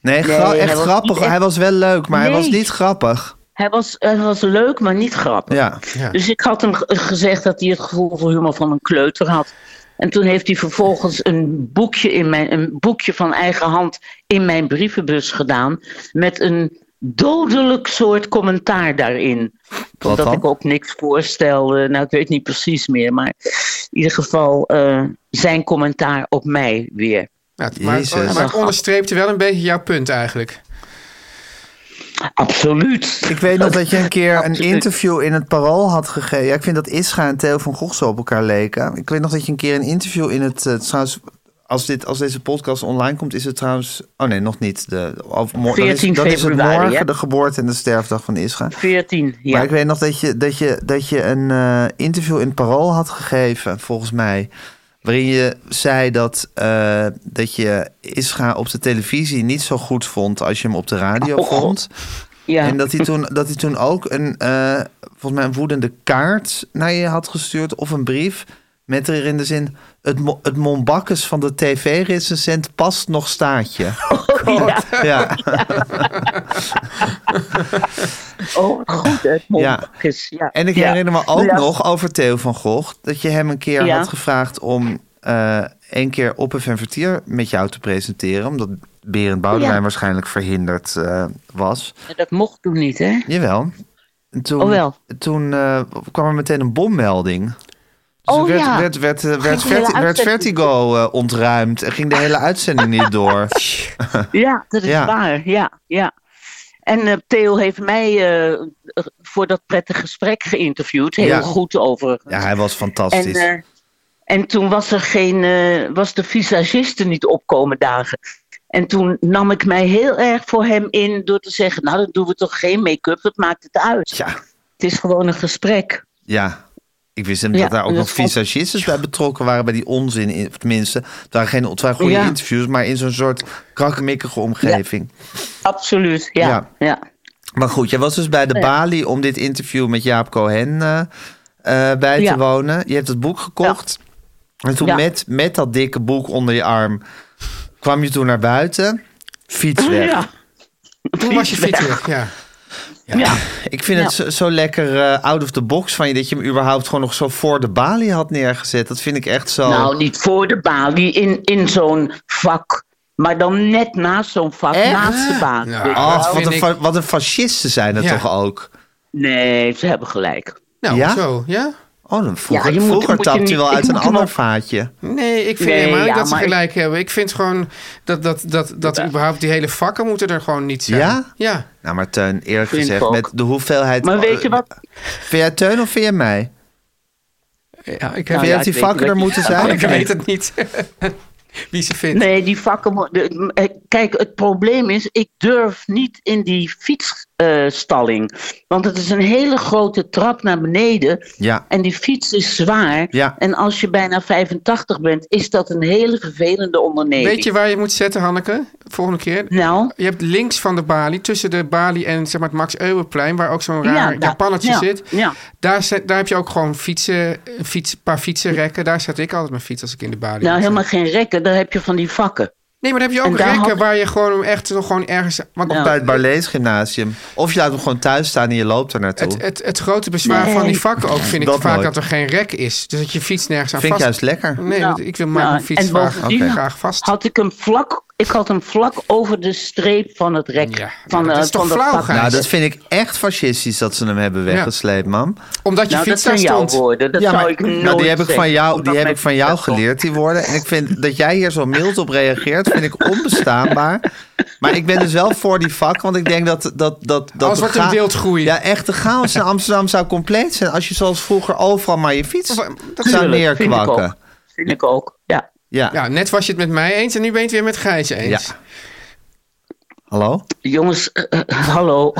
Speaker 2: Nee, gra-
Speaker 5: hij
Speaker 2: echt
Speaker 5: was
Speaker 2: grappig.
Speaker 5: niet echt-
Speaker 2: Hij was wel leuk, maar hij was
Speaker 5: Nee.
Speaker 2: niet grappig.
Speaker 5: Hij, was, hij was leuk, maar niet grappig.
Speaker 2: Ja.
Speaker 1: Ja.
Speaker 5: Dus ik had hem ge- gezegd dat hij het gevoel voor humor van een kleuter had. En toen heeft hij vervolgens een boekje, in mijn, een boekje van eigen hand in mijn brievenbus gedaan. Met een dodelijk soort commentaar daarin.
Speaker 2: Wat
Speaker 5: Omdat
Speaker 2: dan?
Speaker 5: ik ook niks voorstelde. Nou, ik weet niet precies meer. Maar in ieder geval eh, zijn commentaar op mij weer.
Speaker 1: Ja, het- maar, het-
Speaker 2: Jezus.
Speaker 1: maar het onderstreepte wel een beetje jouw punt eigenlijk.
Speaker 5: Absoluut.
Speaker 2: Ik weet nog dat je een keer een
Speaker 5: Absoluut.
Speaker 2: interview in het Parool had gegeven. Ja, ik vind dat Ischa en Theo van Gogh zo op elkaar leken. Ik weet nog dat je een keer een interview in het... eh, trouwens, als, dit, als deze podcast online komt, is het trouwens... Oh nee, nog niet. De, of, mo- dan is,
Speaker 5: 14
Speaker 2: dan is het
Speaker 5: februari,
Speaker 2: morgen
Speaker 5: hè?
Speaker 2: de geboorte en de sterfdag van Ischa.
Speaker 5: 14, ja.
Speaker 2: Maar ik weet nog dat je, dat je, dat je een eh, interview in het Parool had gegeven, volgens mij. Waarin je zei dat, eh, dat je Ischa op de televisie niet zo goed vond als je hem op de radio
Speaker 5: Oh, God.
Speaker 2: vond.
Speaker 5: ja.
Speaker 2: En dat hij toen, dat hij toen ook een, eh, volgens mij een woedende kaart naar je had gestuurd. Of een brief met erin de zin... Het, mo- het Mombakkes van de tv-recensent past nog staatje.
Speaker 5: Oh, ja.
Speaker 2: ja.
Speaker 5: Oh, goed, het mondkapjes, ja.
Speaker 2: Ah, En ik
Speaker 5: Ja.
Speaker 2: herinner me ook
Speaker 5: Ja.
Speaker 2: nog over Theo van Gogh... dat je hem een keer
Speaker 5: Ja.
Speaker 2: had gevraagd om eh één keer op een Vertier met jou te presenteren. Omdat Berend Boudewijn
Speaker 5: Ja.
Speaker 2: waarschijnlijk verhinderd eh, was.
Speaker 5: Dat mocht toen niet, hè?
Speaker 2: Jawel. En Toen,
Speaker 5: Oh wel.
Speaker 2: toen eh, kwam er meteen een bommelding. Dus er
Speaker 5: Oh
Speaker 2: werd,
Speaker 5: ja.
Speaker 2: werd, werd, eh, werd,
Speaker 5: Ging de hele
Speaker 2: Verti- werd
Speaker 5: uitzending-
Speaker 2: Vertigo eh, ontruimd en ging de hele uitzending niet door.
Speaker 5: Ja, dat is
Speaker 2: Ja.
Speaker 5: waar. Ja, ja. En eh, Theo heeft mij eh, voor dat prettige gesprek geïnterviewd. Heel
Speaker 2: Ja.
Speaker 5: goed overigens.
Speaker 2: Ja, hij was
Speaker 5: en,
Speaker 2: fantastisch.
Speaker 5: eh, en toen was er geen, eh, was de visagiste niet opkomen dagen. En toen nam ik mij heel erg voor hem in door te zeggen, nou dan doen we toch geen make-up, dat maakt het uit.
Speaker 2: ja,
Speaker 5: Het is gewoon een gesprek.
Speaker 2: ja. Ik wist hem
Speaker 5: Ja,
Speaker 2: dat daar ook
Speaker 5: dat
Speaker 2: nog
Speaker 5: vond-
Speaker 2: visagistes bij betrokken waren bij die onzin. in- Of tenminste, het waren, geen, het waren goede
Speaker 5: Ja.
Speaker 2: interviews, maar in zo'n soort krakkemikkige omgeving.
Speaker 5: Absoluut, ja.
Speaker 2: Ja.
Speaker 5: ja.
Speaker 2: Maar goed, jij was dus bij de Bali om dit interview met Jaap Cohen eh, eh, bij
Speaker 5: Ja.
Speaker 2: te wonen. Je hebt het boek gekocht. En toen
Speaker 5: Ja.
Speaker 2: met, met dat dikke boek onder je arm kwam je toen naar buiten. Fiets weg.
Speaker 5: Ja.
Speaker 1: Toen was je fiets weg, ja.
Speaker 5: Ja.
Speaker 2: Ik vind het
Speaker 5: Ja.
Speaker 2: zo, zo lekker eh, out of the box van je dat je hem überhaupt gewoon nog zo voor de balie had neergezet. Dat vind ik echt
Speaker 1: Oh.
Speaker 2: zo.
Speaker 5: Nou, niet voor de balie, in, in zo'n vak. Maar dan net naast zo'n vak,
Speaker 2: Echt?
Speaker 5: naast de Dus- balie.
Speaker 1: Ja.
Speaker 5: weet je
Speaker 2: Ach,
Speaker 5: wel.
Speaker 2: wat,
Speaker 1: vind
Speaker 2: een,
Speaker 1: ik-
Speaker 2: fa- wat een fascisten zijn het
Speaker 1: Ja.
Speaker 2: toch ook.
Speaker 5: Nee, ze hebben gelijk.
Speaker 1: Nou,
Speaker 2: Ja?
Speaker 1: zo, ja.
Speaker 2: Oh, dan vroeger,
Speaker 5: je moet-
Speaker 2: vroeger
Speaker 5: moet je
Speaker 2: tapt hij
Speaker 5: niet-
Speaker 2: wel
Speaker 5: ik
Speaker 2: uit een
Speaker 5: moet hem
Speaker 2: ander
Speaker 5: ook-
Speaker 2: vaatje.
Speaker 1: Nee, ik vind
Speaker 5: Nee,
Speaker 1: helemaal niet
Speaker 5: ja,
Speaker 1: dat ze
Speaker 5: maar ik-
Speaker 1: gelijk hebben. Ik vind gewoon dat, dat, dat, dat überhaupt die hele vakken moeten er gewoon niet zijn.
Speaker 2: Ja?
Speaker 1: Ja.
Speaker 2: Nou, maar Teun, eerlijk
Speaker 5: Vind ik
Speaker 2: gezegd,
Speaker 5: ook.
Speaker 2: met de hoeveelheid...
Speaker 1: Oh,
Speaker 5: Maar weet
Speaker 1: eh,
Speaker 5: je wat?
Speaker 2: Vind jij Teun of vind jij mij?
Speaker 1: ja ik
Speaker 5: Nou
Speaker 2: vind
Speaker 5: ja,
Speaker 2: jij dat
Speaker 5: ik
Speaker 2: die
Speaker 5: weet
Speaker 2: vakken
Speaker 5: wat
Speaker 2: er
Speaker 5: je-
Speaker 2: moeten zijn?
Speaker 5: Oh,
Speaker 1: ik weet het niet. Wie ze vindt.
Speaker 5: Nee, die vakken. mo- de- eh, Kijk, het probleem is, ik durf niet in die fietsstalling. want het is een hele grote trap naar beneden.
Speaker 2: Ja.
Speaker 5: En die fiets is zwaar.
Speaker 2: Ja.
Speaker 5: En als je bijna 85 bent, is dat een hele vervelende onderneming.
Speaker 1: Weet je waar je moet zetten, Hanneke? Volgende keer.
Speaker 5: Nou,
Speaker 1: Je hebt links van de balie, tussen de balie en zeg maar, het Max Euwenplein, waar ook zo'n
Speaker 5: Ja,
Speaker 1: raar
Speaker 5: daar-
Speaker 1: Japannetje
Speaker 5: ja,
Speaker 1: zit.
Speaker 5: ja.
Speaker 1: Daar, zet- daar heb je ook gewoon fietsen, eh, fiets, een paar fietsenrekken. Daar zet ik altijd mijn fiets als ik in de balie
Speaker 5: nou
Speaker 1: moet
Speaker 5: helemaal
Speaker 1: zijn.
Speaker 5: geen rekken, daar heb je van die vakken.
Speaker 1: Nee, maar dan heb je
Speaker 5: En
Speaker 1: ook
Speaker 5: daar
Speaker 1: rekken
Speaker 5: had-
Speaker 1: waar je gewoon hem echt nog gewoon ergens... Want
Speaker 5: Ja.
Speaker 2: Bij het Barlees Gymnasium. Of je laat hem gewoon thuis staan en je loopt er naartoe.
Speaker 1: het, eh, het, het grote bezwaar
Speaker 5: Nee.
Speaker 1: van die vakken ook vind ik
Speaker 2: Dat
Speaker 1: vaak
Speaker 2: nooit.
Speaker 1: dat er geen rek is. Dus dat je fiets nergens aan
Speaker 2: vind ik
Speaker 1: vast...
Speaker 2: juist lekker.
Speaker 1: Nee,
Speaker 5: Nou,
Speaker 1: want ik wil maar
Speaker 5: nou,
Speaker 1: mijn fiets
Speaker 5: en
Speaker 1: graag,
Speaker 5: bovendien
Speaker 1: graag vast.
Speaker 5: Had ik hem vlak, ik had hem vlak over de streep van het rek.
Speaker 1: Ja, maar
Speaker 5: van,
Speaker 1: dat
Speaker 5: eh,
Speaker 1: is toch
Speaker 5: van
Speaker 1: flauw,
Speaker 5: vak.
Speaker 1: Gijs?
Speaker 2: Nou, dat vind ik echt fascistisch dat ze hem hebben weggesleept, man.
Speaker 1: Omdat je
Speaker 5: Nou, dat
Speaker 1: fiets
Speaker 5: zijn
Speaker 1: daar
Speaker 5: jouw
Speaker 1: stond.
Speaker 5: woorden. Dat zou
Speaker 2: maar-
Speaker 5: ik nooit
Speaker 2: nou, die heb ik
Speaker 5: zeggen,
Speaker 2: van jou,
Speaker 5: omdat
Speaker 2: die heb
Speaker 5: mijn
Speaker 2: ik van jou
Speaker 5: fiets daar
Speaker 2: geleerd, die woorden. En ik vind dat jij hier zo mild op reageert, vind ik onbestaanbaar. Maar ik ben dus wel voor die vak, want ik denk dat... dat, dat, dat
Speaker 1: Alles
Speaker 2: de
Speaker 1: wordt een
Speaker 2: cha-
Speaker 1: wildgroei.
Speaker 2: Ja, echt, de chaos in Amsterdam zou compleet zijn... als je zoals vroeger overal maar je fiets
Speaker 1: eh, Dat
Speaker 2: zou
Speaker 5: Tuurlijk, Vind ik
Speaker 2: neerkwakken.
Speaker 5: ook. Vind ik ook. Ja.
Speaker 2: Ja.
Speaker 1: Ja, net was je het met mij eens en nu ben je het weer met Gijs eens.
Speaker 2: Ja. hallo?
Speaker 5: Jongens, eh, eh, hallo.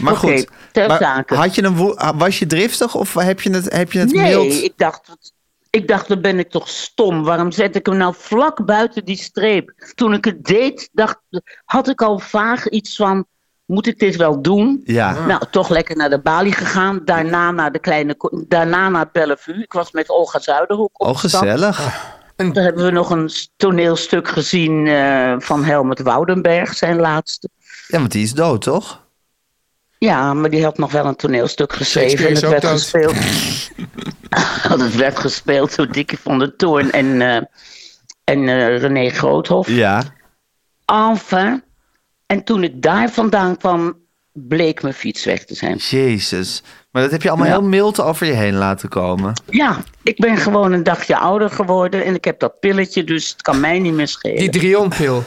Speaker 2: Maar
Speaker 5: Oké,
Speaker 2: goed,
Speaker 5: ter
Speaker 2: maar
Speaker 5: zake.
Speaker 2: Had je een wo- ah, was je driftig of heb je het, heb je het mild?
Speaker 5: Nee, ik dacht, wat- ik dacht, dan ben ik toch stom. Waarom zet ik hem nou vlak buiten die streep? Toen ik het deed, dacht, had ik al vaag iets van, moet ik dit wel doen?
Speaker 2: Ja.
Speaker 5: Nou, toch lekker naar de balie gegaan. Daarna naar, de kleine, ko- daarna naar Bellevue. Ik was met Olga Zuiderhoek op
Speaker 2: Oh,
Speaker 5: stap.
Speaker 2: gezellig.
Speaker 5: Daar hebben we nog een s- toneelstuk gezien eh, van Helmut Woudenberg, zijn laatste.
Speaker 2: Ja, want die is dood, toch?
Speaker 5: Ja, maar die had nog wel een toneelstuk geschreven.
Speaker 1: Shakespeare
Speaker 5: En
Speaker 1: is
Speaker 5: het werd
Speaker 1: ook
Speaker 5: gespeeld. het werd gespeeld door Dikkie van der Toorn en, eh, en eh, René Groothof.
Speaker 2: Ja.
Speaker 5: Enfin. En toen ik daar vandaan kwam, bleek mijn fiets weg te zijn.
Speaker 2: Jezus. Maar dat heb je allemaal
Speaker 5: Ja.
Speaker 2: heel mild over je heen laten komen.
Speaker 5: Ja, ik ben gewoon een dagje ouder geworden en ik heb dat pilletje, dus het kan mij niet meer schelen.
Speaker 1: Die drionpil.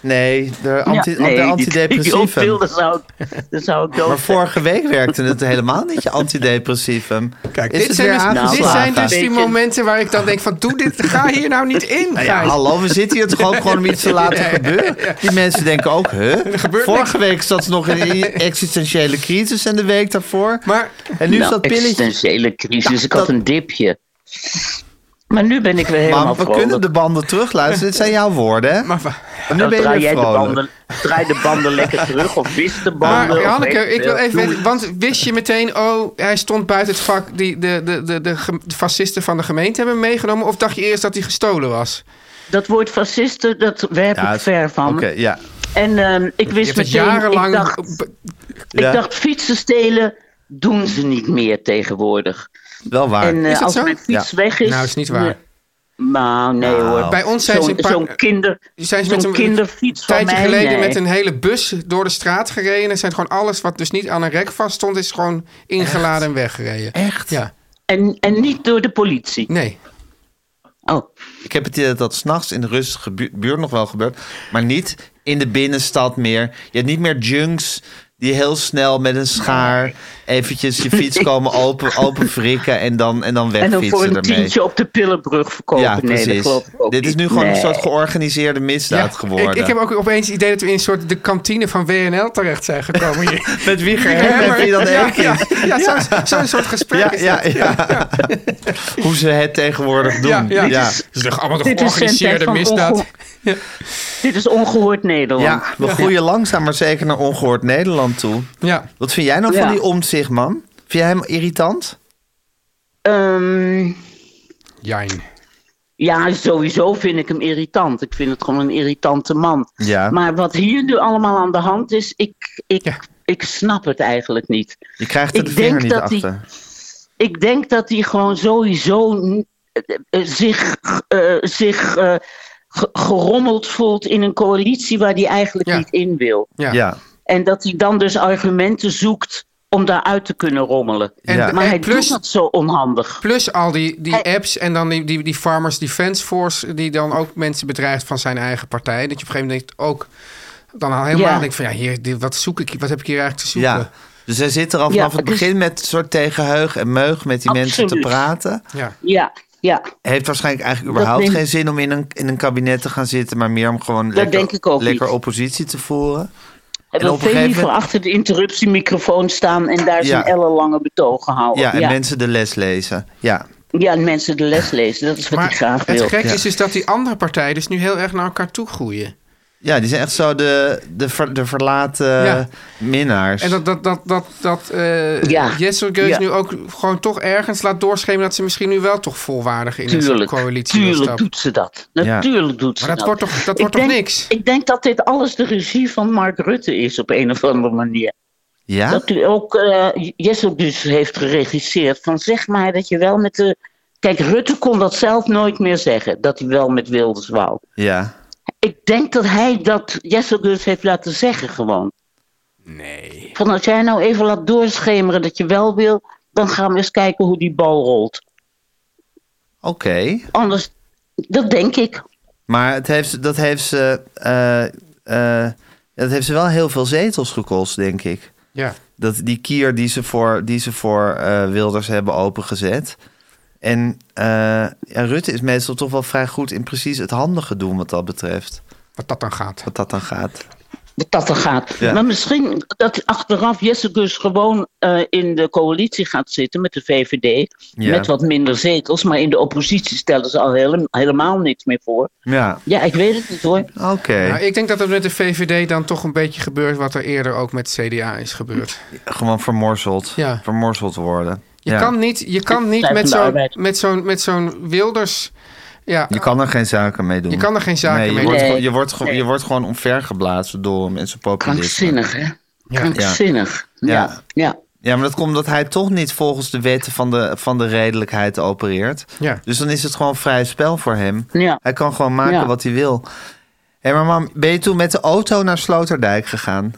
Speaker 2: Nee, de, anti,
Speaker 5: Ja,
Speaker 2: de
Speaker 5: die- Die
Speaker 2: antidepressivum.
Speaker 5: opviel, dan zou ik, dan zou ik dood
Speaker 2: maar vorige week werkte het helemaal niet, je antidepressivum.
Speaker 1: Kijk,
Speaker 2: is
Speaker 1: dit
Speaker 2: het
Speaker 1: zijn,
Speaker 2: weer
Speaker 1: dus,
Speaker 2: aangeslagen?
Speaker 1: dit zijn dus die
Speaker 5: Beetje-
Speaker 1: momenten waar ik dan denk van... Doe dit, ga hier nou niet in,
Speaker 2: Nou
Speaker 1: Gijs.
Speaker 2: ja, hallo, we zitten hier toch ook gewoon om iets te laten gebeuren? Die mensen denken ook, huh?
Speaker 1: gebeurt
Speaker 2: Vorige week zat ze nog in een existentiële crisis en de week daarvoor.
Speaker 1: Maar
Speaker 2: En nu is
Speaker 5: nou,
Speaker 2: dat pilletje...
Speaker 5: existentiële crisis. ik had
Speaker 2: dat-
Speaker 5: een dipje. Maar nu ben ik weer helemaal
Speaker 2: Mam, we
Speaker 5: vrolijk.
Speaker 2: kunnen de banden terugluisteren. Dit zijn jouw woorden, hè?
Speaker 1: Maar, wa-
Speaker 2: En nu
Speaker 5: Nou,
Speaker 2: ben je
Speaker 5: draai,
Speaker 2: weer
Speaker 5: jij de
Speaker 2: vrolijk.
Speaker 5: banden, draai de banden lekker terug of wist
Speaker 1: maar
Speaker 5: de
Speaker 1: eh,
Speaker 5: banden. of weet
Speaker 1: Hanneke, ik wil
Speaker 5: veel.
Speaker 1: even weten... Want wist je meteen... Oh, hij stond buiten het vak... Die, de, de, de, de, ge- de fascisten van de gemeente hebben hem meegenomen... Of dacht je eerst dat hij gestolen was?
Speaker 5: Dat woord fascisten, dat werp
Speaker 2: Ja,
Speaker 5: ik ver van.
Speaker 2: Oké, ja.
Speaker 5: En ehm, ik
Speaker 1: Je
Speaker 5: wist
Speaker 1: hebt het
Speaker 5: meteen,
Speaker 1: jarenlang...
Speaker 5: ik, dacht,
Speaker 2: Ja.
Speaker 5: ik dacht fietsen stelen doen ze niet meer tegenwoordig.
Speaker 2: Wel waar.
Speaker 5: en eh,
Speaker 1: dat
Speaker 5: als
Speaker 1: zo?
Speaker 5: mijn fiets
Speaker 2: Ja.
Speaker 5: weg is...
Speaker 1: Nou, is niet waar.
Speaker 5: Nee. Nou, nee hoor.
Speaker 1: Bij ons zijn ze
Speaker 5: Zo'n
Speaker 1: een paar-
Speaker 5: zo'n kinder,
Speaker 1: zijn ze
Speaker 5: zo'n
Speaker 1: met een
Speaker 5: kinderfiets van
Speaker 1: tijdje
Speaker 5: mij,
Speaker 1: geleden
Speaker 5: nee.
Speaker 1: met een hele bus door de straat gereden. En zijn gewoon alles wat dus niet aan een rek vast stond, is gewoon ingeladen en weggereden.
Speaker 2: Echt?
Speaker 1: Ja.
Speaker 5: En, en niet door de politie.
Speaker 1: Nee.
Speaker 5: Oh,
Speaker 2: Ik heb het idee dat dat s'nachts in de rustige bu- buurt nog wel gebeurt. Maar niet in de binnenstad meer. Je hebt niet meer junks die heel snel met een schaar... eventjes je fiets komen open, open frikken en dan, en dan
Speaker 5: en dan voor
Speaker 2: wegfietsen
Speaker 5: een
Speaker 2: ermee.
Speaker 5: tientje op de Pillenbrug verkopen.
Speaker 2: Ja,
Speaker 5: nee, dat
Speaker 2: precies.
Speaker 5: geloof ik ook
Speaker 2: Dit is
Speaker 5: niet.
Speaker 2: nu gewoon een
Speaker 5: Nee.
Speaker 2: soort georganiseerde misdaad
Speaker 1: Ja,
Speaker 2: geworden.
Speaker 1: Ik, ik heb ook opeens het idee dat we in een soort de kantine van WNL terecht zijn gekomen hier.
Speaker 2: Met wie
Speaker 1: Ja,
Speaker 2: gehermd wie dat
Speaker 1: ja,
Speaker 2: heeft.
Speaker 1: ja, ja, zo'n zo'n soort gesprek
Speaker 2: Ja,
Speaker 1: is
Speaker 2: ja,
Speaker 1: dat.
Speaker 2: ja. Hoe ze het tegenwoordig doen.
Speaker 1: Ja,
Speaker 2: Ja,
Speaker 1: ja. Het is toch allemaal de
Speaker 5: Dit is
Speaker 1: georganiseerde
Speaker 5: zijn tijd van
Speaker 1: misdaad.
Speaker 5: ongehoord- Dit is ongehoord Nederland.
Speaker 2: Ja, we groeien langzaam maar zeker naar ongehoord Nederland toe.
Speaker 1: Ja.
Speaker 2: Wat vind jij nou
Speaker 5: Ja.
Speaker 2: van die omzicht, man? Vind jij hem irritant?
Speaker 5: Ehm,
Speaker 1: Jijn.
Speaker 5: ja, sowieso vind ik hem irritant. Ik vind het gewoon een irritante man.
Speaker 2: Ja.
Speaker 5: Maar wat hier nu allemaal aan de hand is, ik, ik,
Speaker 1: Ja.
Speaker 5: ik snap het eigenlijk niet.
Speaker 2: Je krijgt er
Speaker 5: Ik
Speaker 2: de
Speaker 5: denk
Speaker 2: vinger niet
Speaker 5: dat die-
Speaker 2: achter.
Speaker 5: Ik denk dat hij gewoon sowieso n- eh, eh, zich, eh, zich eh, ge- gerommeld voelt in een coalitie waar hij eigenlijk
Speaker 1: Ja.
Speaker 5: niet in wil.
Speaker 1: Ja.
Speaker 2: Ja.
Speaker 5: En dat hij dan dus argumenten zoekt om daaruit te kunnen rommelen.
Speaker 1: En,
Speaker 2: Ja.
Speaker 1: en
Speaker 5: Maar hij
Speaker 1: plus,
Speaker 5: doet dat zo onhandig.
Speaker 1: plus al die, die
Speaker 5: Hij-
Speaker 1: apps en dan die, die, die Farmers Defense Force... die dan ook mensen bedreigt van zijn eigen partij. Dat je op een gegeven moment denkt ook... dan al helemaal
Speaker 5: Ja.
Speaker 1: denkt van ja, hier, dit, wat, zoek ik, wat heb ik hier eigenlijk te zoeken?
Speaker 2: ja. Dus hij zit er al
Speaker 5: Ja,
Speaker 2: vanaf het
Speaker 5: het is-
Speaker 2: begin met een soort tegenheug en meug met die mensen te
Speaker 5: Absoluut.
Speaker 2: praten.
Speaker 1: Ja.
Speaker 5: Ja, ja.
Speaker 2: Hij heeft waarschijnlijk eigenlijk überhaupt
Speaker 5: neemt-
Speaker 2: geen zin om in een, in een kabinet te gaan zitten, maar meer om gewoon lekker,
Speaker 5: denk ik ook
Speaker 2: lekker
Speaker 5: niet.
Speaker 2: oppositie te voeren. En
Speaker 5: Hij wil
Speaker 2: op een
Speaker 5: veel
Speaker 2: gegeven
Speaker 5: liever
Speaker 2: moment-
Speaker 5: achter de interruptiemicrofoon staan en daar zijn
Speaker 2: Ja.
Speaker 5: ellenlange betogen houden.
Speaker 2: Ja, en
Speaker 5: ja.
Speaker 2: mensen de les lezen. Ja.
Speaker 5: Ja, en mensen de les lezen. Dat is wat
Speaker 1: Maar
Speaker 5: ik graag
Speaker 1: het
Speaker 5: wil.
Speaker 1: gek
Speaker 2: Ja.
Speaker 1: is dus dat die andere partijen dus nu heel erg naar elkaar toe groeien.
Speaker 2: Ja, die zijn echt zo de, de, ver- de verlaten
Speaker 1: Ja.
Speaker 2: minnaars.
Speaker 1: En dat, dat, dat, dat, dat eh
Speaker 5: Ja.
Speaker 1: Jesse Geus
Speaker 2: Ja.
Speaker 1: nu ook gewoon toch ergens laat doorschemeren... dat ze misschien nu wel toch volwaardig in een
Speaker 5: Tuurlijk,
Speaker 1: coalitie wil
Speaker 5: tuurlijk
Speaker 1: stappen.
Speaker 5: doet ze dat.
Speaker 2: Ja.
Speaker 5: Natuurlijk doet ze nou
Speaker 1: Maar dat wordt toch, dat wordt
Speaker 5: ik
Speaker 1: toch
Speaker 5: denk,
Speaker 1: niks?
Speaker 5: Ik denk dat dit alles de regie van Mark Rutte is op een of andere manier.
Speaker 2: ja?
Speaker 5: Dat u ook eh Jessel dus heeft geregisseerd. Van zeg maar dat je wel met de. Kijk, Rutte kon dat zelf nooit meer zeggen. Dat hij wel met Wilders wou.
Speaker 2: ja.
Speaker 5: Ik denk dat hij dat Jessel dus heeft laten zeggen gewoon. Nee. Van als jij nou even laat doorschemeren dat je wel wil. Dan gaan we eens kijken hoe die bal rolt.
Speaker 2: Oké.
Speaker 5: Anders, dat denk ik.
Speaker 2: Maar het heeft, dat, heeft ze, eh, eh, dat heeft ze wel heel veel zetels gekost, denk ik.
Speaker 1: Ja.
Speaker 2: Dat, die kier die ze voor, die ze voor eh, Wilders hebben opengezet. En eh, ja, Rutte is meestal toch wel vrij goed in precies het handige doen wat dat betreft.
Speaker 1: Wat dat dan gaat.
Speaker 2: Wat dat dan gaat.
Speaker 5: dat dat er gaat.
Speaker 2: Ja.
Speaker 5: Maar misschien dat achteraf Jesse Gus gewoon eh, in de coalitie gaat zitten met de VVD.
Speaker 2: Ja.
Speaker 5: Met wat minder zetels. Maar in de oppositie stellen ze al hele- helemaal niks meer voor.
Speaker 2: Ja,
Speaker 5: Ja, ik weet het niet hoor.
Speaker 2: oké.
Speaker 1: Nou, ik denk dat het met de VVD dan toch een beetje gebeurt wat er eerder ook met CDA is gebeurd.
Speaker 2: Gewoon vermorzeld.
Speaker 1: Ja.
Speaker 2: Vermorzeld worden.
Speaker 1: Je
Speaker 2: Ja.
Speaker 1: kan niet, je kan niet
Speaker 5: Partij
Speaker 1: met
Speaker 5: van de
Speaker 1: zo'n
Speaker 5: Arbeid.
Speaker 1: met zo'n met zo'n Wilders. Ja,
Speaker 2: Je kan er geen zaken mee doen.
Speaker 1: Je kan er geen zaken
Speaker 2: nee, je
Speaker 1: mee
Speaker 2: Wordt
Speaker 5: doen.
Speaker 2: gewoon- je, wordt gewoon-
Speaker 5: Nee.
Speaker 2: je wordt gewoon omvergeblazen door hem en zijn populisme.
Speaker 5: Krankzinnig hè? Krankzinnig. Ja.
Speaker 2: Ja.
Speaker 5: Ja.
Speaker 2: Ja, maar dat komt omdat hij toch niet volgens de wetten van de, van de redelijkheid opereert.
Speaker 1: Ja.
Speaker 2: Dus dan is het gewoon vrij spel voor hem.
Speaker 5: Ja.
Speaker 2: Hij kan gewoon maken
Speaker 5: Ja.
Speaker 2: wat hij wil. Hé, maar mam, ben je toen met de auto naar Sloterdijk gegaan?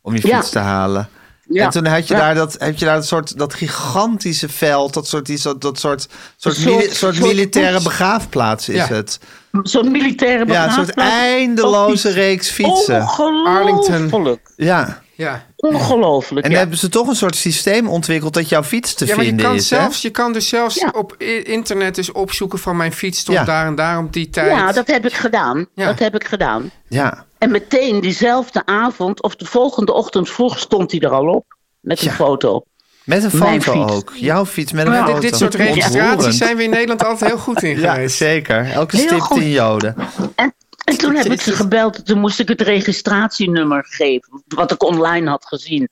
Speaker 2: Om je fiets
Speaker 5: Ja.
Speaker 2: te halen.
Speaker 5: Ja.
Speaker 2: En toen had je,
Speaker 5: Ja.
Speaker 2: daar, dat, heb je daar dat, soort, dat gigantische veld, dat soort, die, soort- dat soort, soort,
Speaker 5: soort-
Speaker 2: mili- soort
Speaker 5: soort
Speaker 2: militaire
Speaker 5: koets.
Speaker 2: begraafplaats is
Speaker 1: Ja.
Speaker 2: het.
Speaker 5: Zo'n militaire
Speaker 2: Ja, een soort
Speaker 5: begraafplaats.
Speaker 2: eindeloze
Speaker 5: Oh.
Speaker 2: reeks fietsen.
Speaker 1: Arlington.
Speaker 5: Ongelooflijk.
Speaker 2: Ja,
Speaker 1: ja.
Speaker 5: Ongelooflijk.
Speaker 2: en
Speaker 5: ja.
Speaker 2: hebben ze toch een soort systeem ontwikkeld dat jouw fiets te
Speaker 1: ja maar je
Speaker 2: vinden
Speaker 1: kan,
Speaker 2: is. hè?
Speaker 1: zelfs, je kan dus zelfs
Speaker 5: Ja.
Speaker 1: op i- internet dus opzoeken van mijn fiets stond
Speaker 2: Ja.
Speaker 1: daar en daar om die tijd.
Speaker 5: ja, dat heb ik gedaan.
Speaker 1: Ja.
Speaker 5: Dat heb ik gedaan.
Speaker 2: Ja.
Speaker 5: En meteen diezelfde avond of de volgende ochtend vroeg stond hij er al op. Met een
Speaker 2: Ja.
Speaker 5: foto.
Speaker 2: Met een
Speaker 5: Mijn
Speaker 2: foto
Speaker 5: fiets.
Speaker 2: ook. Jouw fiets met een
Speaker 1: Ja,
Speaker 2: foto.
Speaker 1: dit, dit soort registraties zijn we in Nederland altijd heel goed in
Speaker 2: Ja,
Speaker 1: geweest.
Speaker 2: zeker. Elke
Speaker 5: Heel
Speaker 2: stip
Speaker 5: goed.
Speaker 2: 10 joden.
Speaker 5: En, en toen heb ik ze gebeld. Toen moest ik het registratienummer geven. Wat ik online had gezien.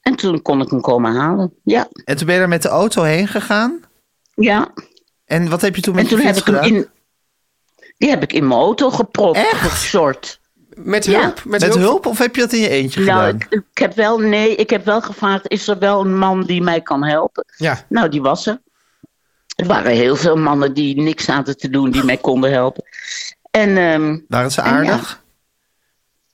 Speaker 5: En toen kon ik hem komen halen. Ja.
Speaker 2: En toen ben je daar met de auto heen gegaan.
Speaker 5: ja.
Speaker 2: En wat heb je toen met
Speaker 5: En toen
Speaker 2: je
Speaker 5: heb
Speaker 2: fiets
Speaker 5: ik hem
Speaker 2: gedaan?
Speaker 5: in. Die heb ik in mijn auto gepropt.
Speaker 2: Echt?
Speaker 5: Gesort.
Speaker 1: Met
Speaker 5: Ja.
Speaker 1: hulp, met,
Speaker 2: Met
Speaker 1: hulp.
Speaker 2: hulp of heb je dat in je eentje
Speaker 5: Nou,
Speaker 2: gedaan?
Speaker 5: ik, ik heb wel. Nee, ik heb wel gevraagd. Is er wel een man die mij kan helpen?
Speaker 1: Ja.
Speaker 5: Nou, die was er. Er waren heel veel mannen die niks zaten te doen, die mij konden helpen. En ehm,
Speaker 2: Waren ze
Speaker 5: en ja.
Speaker 2: aardig?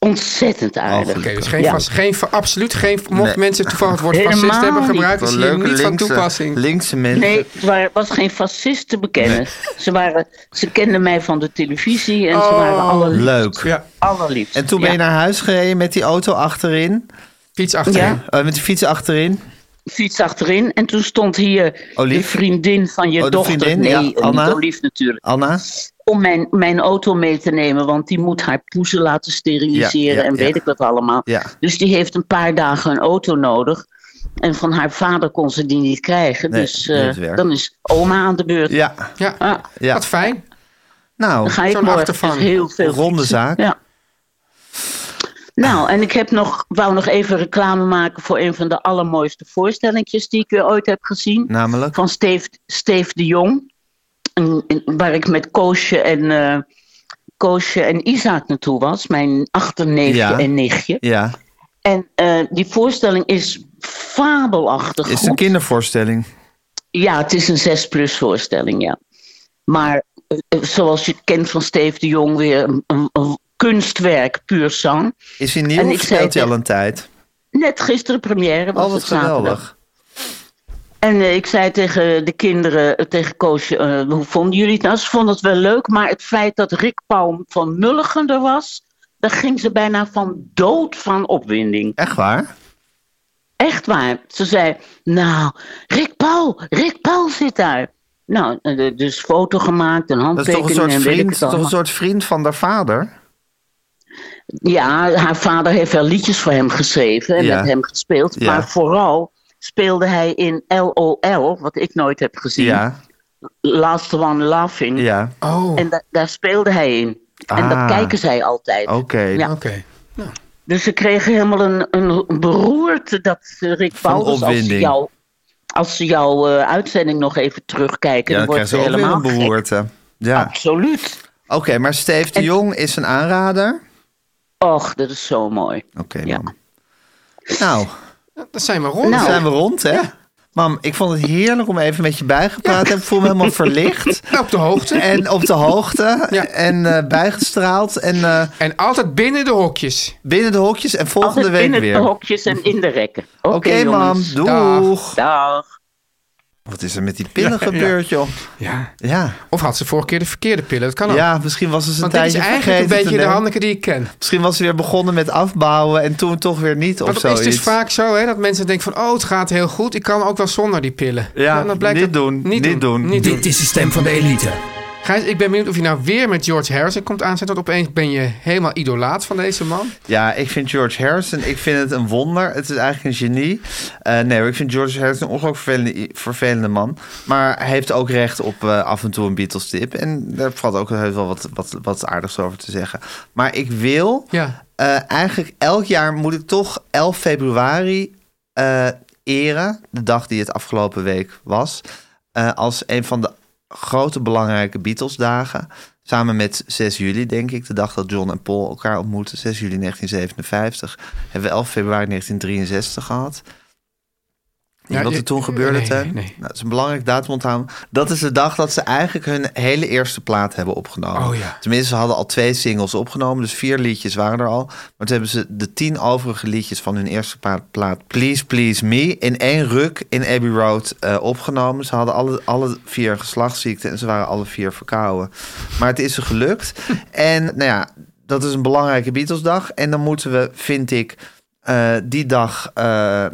Speaker 5: ontzettend aardig.
Speaker 2: Oh,
Speaker 1: Oké, dus geen,
Speaker 5: Ja.
Speaker 1: vast, geen, fa- absoluut geen. Mochten
Speaker 2: Nee.
Speaker 1: mensen toevallig het woord
Speaker 5: Helemaal
Speaker 1: fascist hebben
Speaker 5: niet.
Speaker 1: gebruikt, is
Speaker 2: Wel
Speaker 1: hier
Speaker 2: leuke
Speaker 1: niet van
Speaker 2: linkse,
Speaker 1: toepassing.
Speaker 2: linkse mensen.
Speaker 5: Nee, ik wa- was geen fascist te bekennen. Ze, waren, ze kenden mij van de televisie en ze waren allerliefst.
Speaker 2: Leuk.
Speaker 1: Ja,
Speaker 5: allerliefst.
Speaker 2: En toen ben je
Speaker 5: Ja,
Speaker 2: naar huis gereden met die auto achterin.
Speaker 1: fiets achter.
Speaker 5: Ja.
Speaker 2: eh, met de fiets achterin.
Speaker 5: fiets achterin en toen stond hier
Speaker 2: Olief?
Speaker 5: de vriendin van je
Speaker 2: Oh, de
Speaker 5: dochter.
Speaker 2: vriendin,
Speaker 5: nee,
Speaker 2: ja,
Speaker 5: eh,
Speaker 2: Anna?
Speaker 5: niet Olief natuurlijk.
Speaker 2: Anna.
Speaker 5: Om mijn, mijn auto mee te nemen, want die moet haar poezen laten steriliseren
Speaker 2: Ja, ja,
Speaker 5: en
Speaker 2: ja.
Speaker 5: weet ik wat allemaal.
Speaker 2: Ja.
Speaker 5: Dus die heeft een paar dagen een auto nodig. En van haar vader kon ze die niet krijgen.
Speaker 2: Nee,
Speaker 5: dus
Speaker 2: niet
Speaker 5: eh,
Speaker 2: het werk.
Speaker 5: dan is oma aan de beurt.
Speaker 2: Ja.
Speaker 1: Ja,
Speaker 5: Ah,
Speaker 2: Ja.
Speaker 1: wat fijn.
Speaker 5: dan
Speaker 2: Nou,
Speaker 5: ga ik
Speaker 1: zo'n
Speaker 5: morgen
Speaker 1: achtervang.
Speaker 5: dus heel veel
Speaker 2: ronde zaak.
Speaker 5: Ja. Nou, en ik heb nog, wou nog even reclame maken voor een van de allermooiste voorstellingjes die ik weer ooit heb gezien.
Speaker 2: Namelijk.
Speaker 5: Van Steve, Steve de Jong. En- en- waar ik met Koosje en, eh Koosje en Isaac naartoe was. Mijn achterneefje
Speaker 2: Ja.
Speaker 5: en nichtje.
Speaker 2: Ja.
Speaker 5: En eh, die voorstelling is fabelachtig
Speaker 2: Is het een
Speaker 5: goed.
Speaker 2: kindervoorstelling?
Speaker 5: Ja, het is een 6 plus voorstelling, ja. Maar eh, zoals je kent van Steve de Jong weer een, een- een kunstwerk puur zang.
Speaker 2: Is hij
Speaker 5: En
Speaker 2: nieuw
Speaker 5: ik
Speaker 2: of
Speaker 5: zei
Speaker 2: speelt hij al
Speaker 5: tegen-
Speaker 2: een tijd?
Speaker 5: Net gisteren première was
Speaker 2: Oh, wat
Speaker 5: het zaterdag.
Speaker 2: geweldig.
Speaker 5: En eh, ik zei tegen de kinderen, eh, tegen Koosje, eh, hoe vonden jullie het nou? Ze vonden het wel leuk, maar het feit dat Rick Palm van Mulligen er was, daar ging ze bijna van dood van opwinding.
Speaker 2: Echt waar?
Speaker 5: Echt waar. Ze zei, nou, Rick Paul, Rick Paul zit daar. Nou, eh, dus foto gemaakt, een
Speaker 2: Dat is toch een
Speaker 5: handtekening
Speaker 2: soort
Speaker 5: en weet ik
Speaker 2: vriend,
Speaker 5: het allemaal.
Speaker 2: toch een soort vriend van haar vader?
Speaker 5: Hm? Ja, haar vader heeft wel liedjes voor hem geschreven en
Speaker 2: Ja.
Speaker 5: met hem gespeeld.
Speaker 2: Ja.
Speaker 5: Maar vooral speelde hij in LOL, wat ik nooit heb gezien.
Speaker 2: Ja.
Speaker 5: Last One Laughing.
Speaker 2: Ja.
Speaker 1: Oh,
Speaker 5: En da- daar speelde hij in. En
Speaker 2: Ah. Oh.
Speaker 5: dat kijken zij altijd.
Speaker 2: Oké.
Speaker 5: Ja.
Speaker 1: oké.
Speaker 5: Dus ze kregen helemaal een, een beroerte dat eh, Rick
Speaker 2: Van
Speaker 5: Paulus, als ze
Speaker 2: opwinding.
Speaker 5: jou... Als ze jouw eh, uitzending nog even terugkijken,
Speaker 2: Ja,
Speaker 5: dan
Speaker 2: dan krijgt
Speaker 5: wordt ze
Speaker 2: ze ook weer
Speaker 5: helemaal
Speaker 2: een
Speaker 5: gek.
Speaker 2: beroerte. Ja.
Speaker 5: Absoluut.
Speaker 2: Oké, maar Steve de
Speaker 5: En-
Speaker 2: Jong is een aanrader?
Speaker 5: Och, dat is zo mooi.
Speaker 2: Oké,
Speaker 5: Ja.
Speaker 2: mam. Nou,
Speaker 1: Dat zijn we rond.
Speaker 2: dan
Speaker 5: Nou.
Speaker 2: zijn we rond, hè? Mam, ik vond het heerlijk om even met je bijgepraat te hebben. Ik voel me helemaal verlicht.
Speaker 1: Nou, op de hoogte. En,
Speaker 2: En op de hoogte.
Speaker 1: Ja.
Speaker 2: En eh, bijgestraald. En eh,
Speaker 1: altijd binnen de hokjes.
Speaker 2: binnen de hokjes. En volgende
Speaker 5: Altijd
Speaker 2: week
Speaker 5: binnen
Speaker 2: weer.
Speaker 5: de
Speaker 2: Oké,
Speaker 5: Dus hokjes en in de rekken. Oké,
Speaker 2: mam.
Speaker 5: jongens.
Speaker 1: Dag.
Speaker 2: Doeg.
Speaker 5: Dag.
Speaker 2: Wat is er met die pillen
Speaker 1: Ja, ja.
Speaker 2: gebeurd, joh?
Speaker 1: Ja.
Speaker 2: Ja.
Speaker 1: Of had ze vorige keer de verkeerde pillen? Dat kan ook.
Speaker 2: ja, misschien was ze zijn
Speaker 1: Want dit is
Speaker 2: tijdje
Speaker 1: eigenlijk een
Speaker 2: vergeten te
Speaker 1: beetje de
Speaker 2: nemen.
Speaker 1: Hanneke die ik ken.
Speaker 2: Misschien was ze weer begonnen met afbouwen en toen toch weer niet of
Speaker 1: Want
Speaker 2: zo.
Speaker 1: het is dus vaak zo hè, dat mensen denken van... oh, het gaat heel goed, ik kan ook wel zonder die pillen.
Speaker 2: Ja,
Speaker 1: Nou, dan blijkt
Speaker 2: niet
Speaker 1: dat-
Speaker 2: doen,
Speaker 1: Niet,
Speaker 2: niet
Speaker 1: doen.
Speaker 2: doen.
Speaker 1: Niet doen.
Speaker 3: Dit is de stem van de elite.
Speaker 1: Gijs, ik ben benieuwd of je nou weer met George Harrison komt aanzetten... want opeens ben je helemaal idolaat van deze man.
Speaker 2: Ja, ik vind George Harrison, ik vind het een wonder. Het is eigenlijk een genie. Eh, nee, ik vind George Harrison een ongelooflijk vervelende, vervelende man. Maar hij heeft ook recht op eh, af en toe een Beatles-tip. En daar valt ook heus wel wat, wat, wat aardigs over te zeggen. Maar ik wil
Speaker 1: Ja.
Speaker 2: eh, eigenlijk elk jaar moet ik toch 11 februari eh, eren. De dag die het afgelopen week was. eh, als een van de grote belangrijke Beatles-dagen. Samen met 6 juli, denk ik, de dag dat John en Paul elkaar ontmoeten. 6 juli 1957. Hebben we 11 februari 1963 gehad.
Speaker 1: Ja,
Speaker 2: Weet je wat
Speaker 1: je-
Speaker 2: er toen gebeurde,
Speaker 1: nee,
Speaker 2: Teun?
Speaker 1: nee.
Speaker 2: Nou, dat is een belangrijk datum onthouden. Dat is de dag dat ze eigenlijk hun hele eerste plaat hebben opgenomen.
Speaker 1: Oh ja.
Speaker 2: Tenminste, ze hadden al twee singles opgenomen, dus vier liedjes waren er al. Maar toen hebben ze de tien overige liedjes van hun eerste pla- plaat, Please Please Me, in één ruk in Abbey Road eh, opgenomen. Ze hadden alle, alle vier geslachtsziekten en ze waren alle vier verkouden. Maar het is ze gelukt. en nou ja, dat is een belangrijke Beatles-dag. En dan moeten we, vind ik, eh, die dag eh, eh,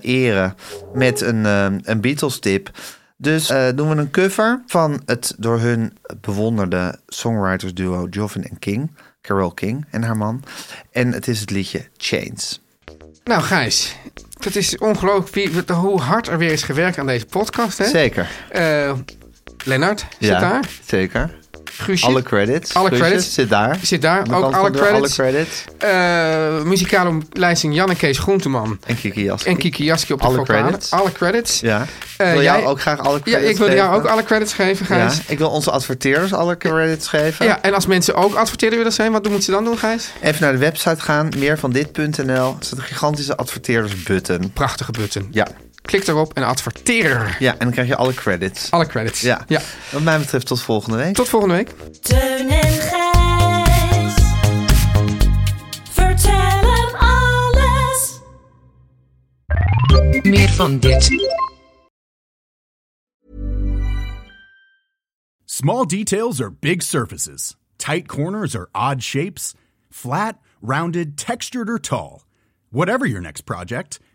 Speaker 2: eren met een, eh, een Beatles-tip. Dus eh, doen we een cover van het door hun bewonderde songwriters-duo Joven en King, Carole King en haar man. En het is het liedje Chains.
Speaker 1: Nou, Gijs, dat is ongelooflijk wie- wat- hoe hard er weer is gewerkt aan deze podcast. Hè?
Speaker 2: Zeker.
Speaker 1: Eh, Lennart zit daar.
Speaker 2: zeker.
Speaker 1: Guusje
Speaker 2: Alle credits.
Speaker 1: Alle
Speaker 2: Guusje
Speaker 1: credits.
Speaker 2: Zit daar.
Speaker 1: zit daar.
Speaker 2: Aan de
Speaker 1: Ook
Speaker 2: kant van
Speaker 1: alle
Speaker 2: de deur,
Speaker 1: credits.
Speaker 2: alle credits.
Speaker 1: Eh, muzikale omlijsting Jan en Kees Groenteman.
Speaker 2: En Kiki Jas.
Speaker 1: En Kiki Jaski op de
Speaker 2: Alle
Speaker 1: vocalen.
Speaker 2: credits.
Speaker 1: Alle credits.
Speaker 2: Ja.
Speaker 1: Eh,
Speaker 2: ik wil jou
Speaker 1: jij-
Speaker 2: ook graag alle
Speaker 1: Ja,
Speaker 2: credits
Speaker 1: ik wil jou
Speaker 2: geven.
Speaker 1: ook alle credits geven, Gijs.
Speaker 2: Ja, ik wil onze adverteerders alle credits geven.
Speaker 1: Ja, en als mensen ook adverteerder willen zijn, wat moeten ze dan doen, Gijs?
Speaker 2: Even naar de website gaan, meervandit.nl. Er staat een gigantische adverteerdersbutton.
Speaker 1: Prachtige button.
Speaker 2: Ja.
Speaker 1: Klik daarop en adverteer.
Speaker 2: ja, en dan krijg je alle credits.
Speaker 1: Alle credits.
Speaker 2: Ja.
Speaker 1: ja.
Speaker 2: Wat mij betreft tot volgende week.
Speaker 1: Tot volgende week.
Speaker 4: Teun en Gijs. Vertel
Speaker 6: Meer van dit.
Speaker 7: Small details are big surfaces. Tight corners are odd shapes. Flat, rounded, textured, or tall. Whatever your next project,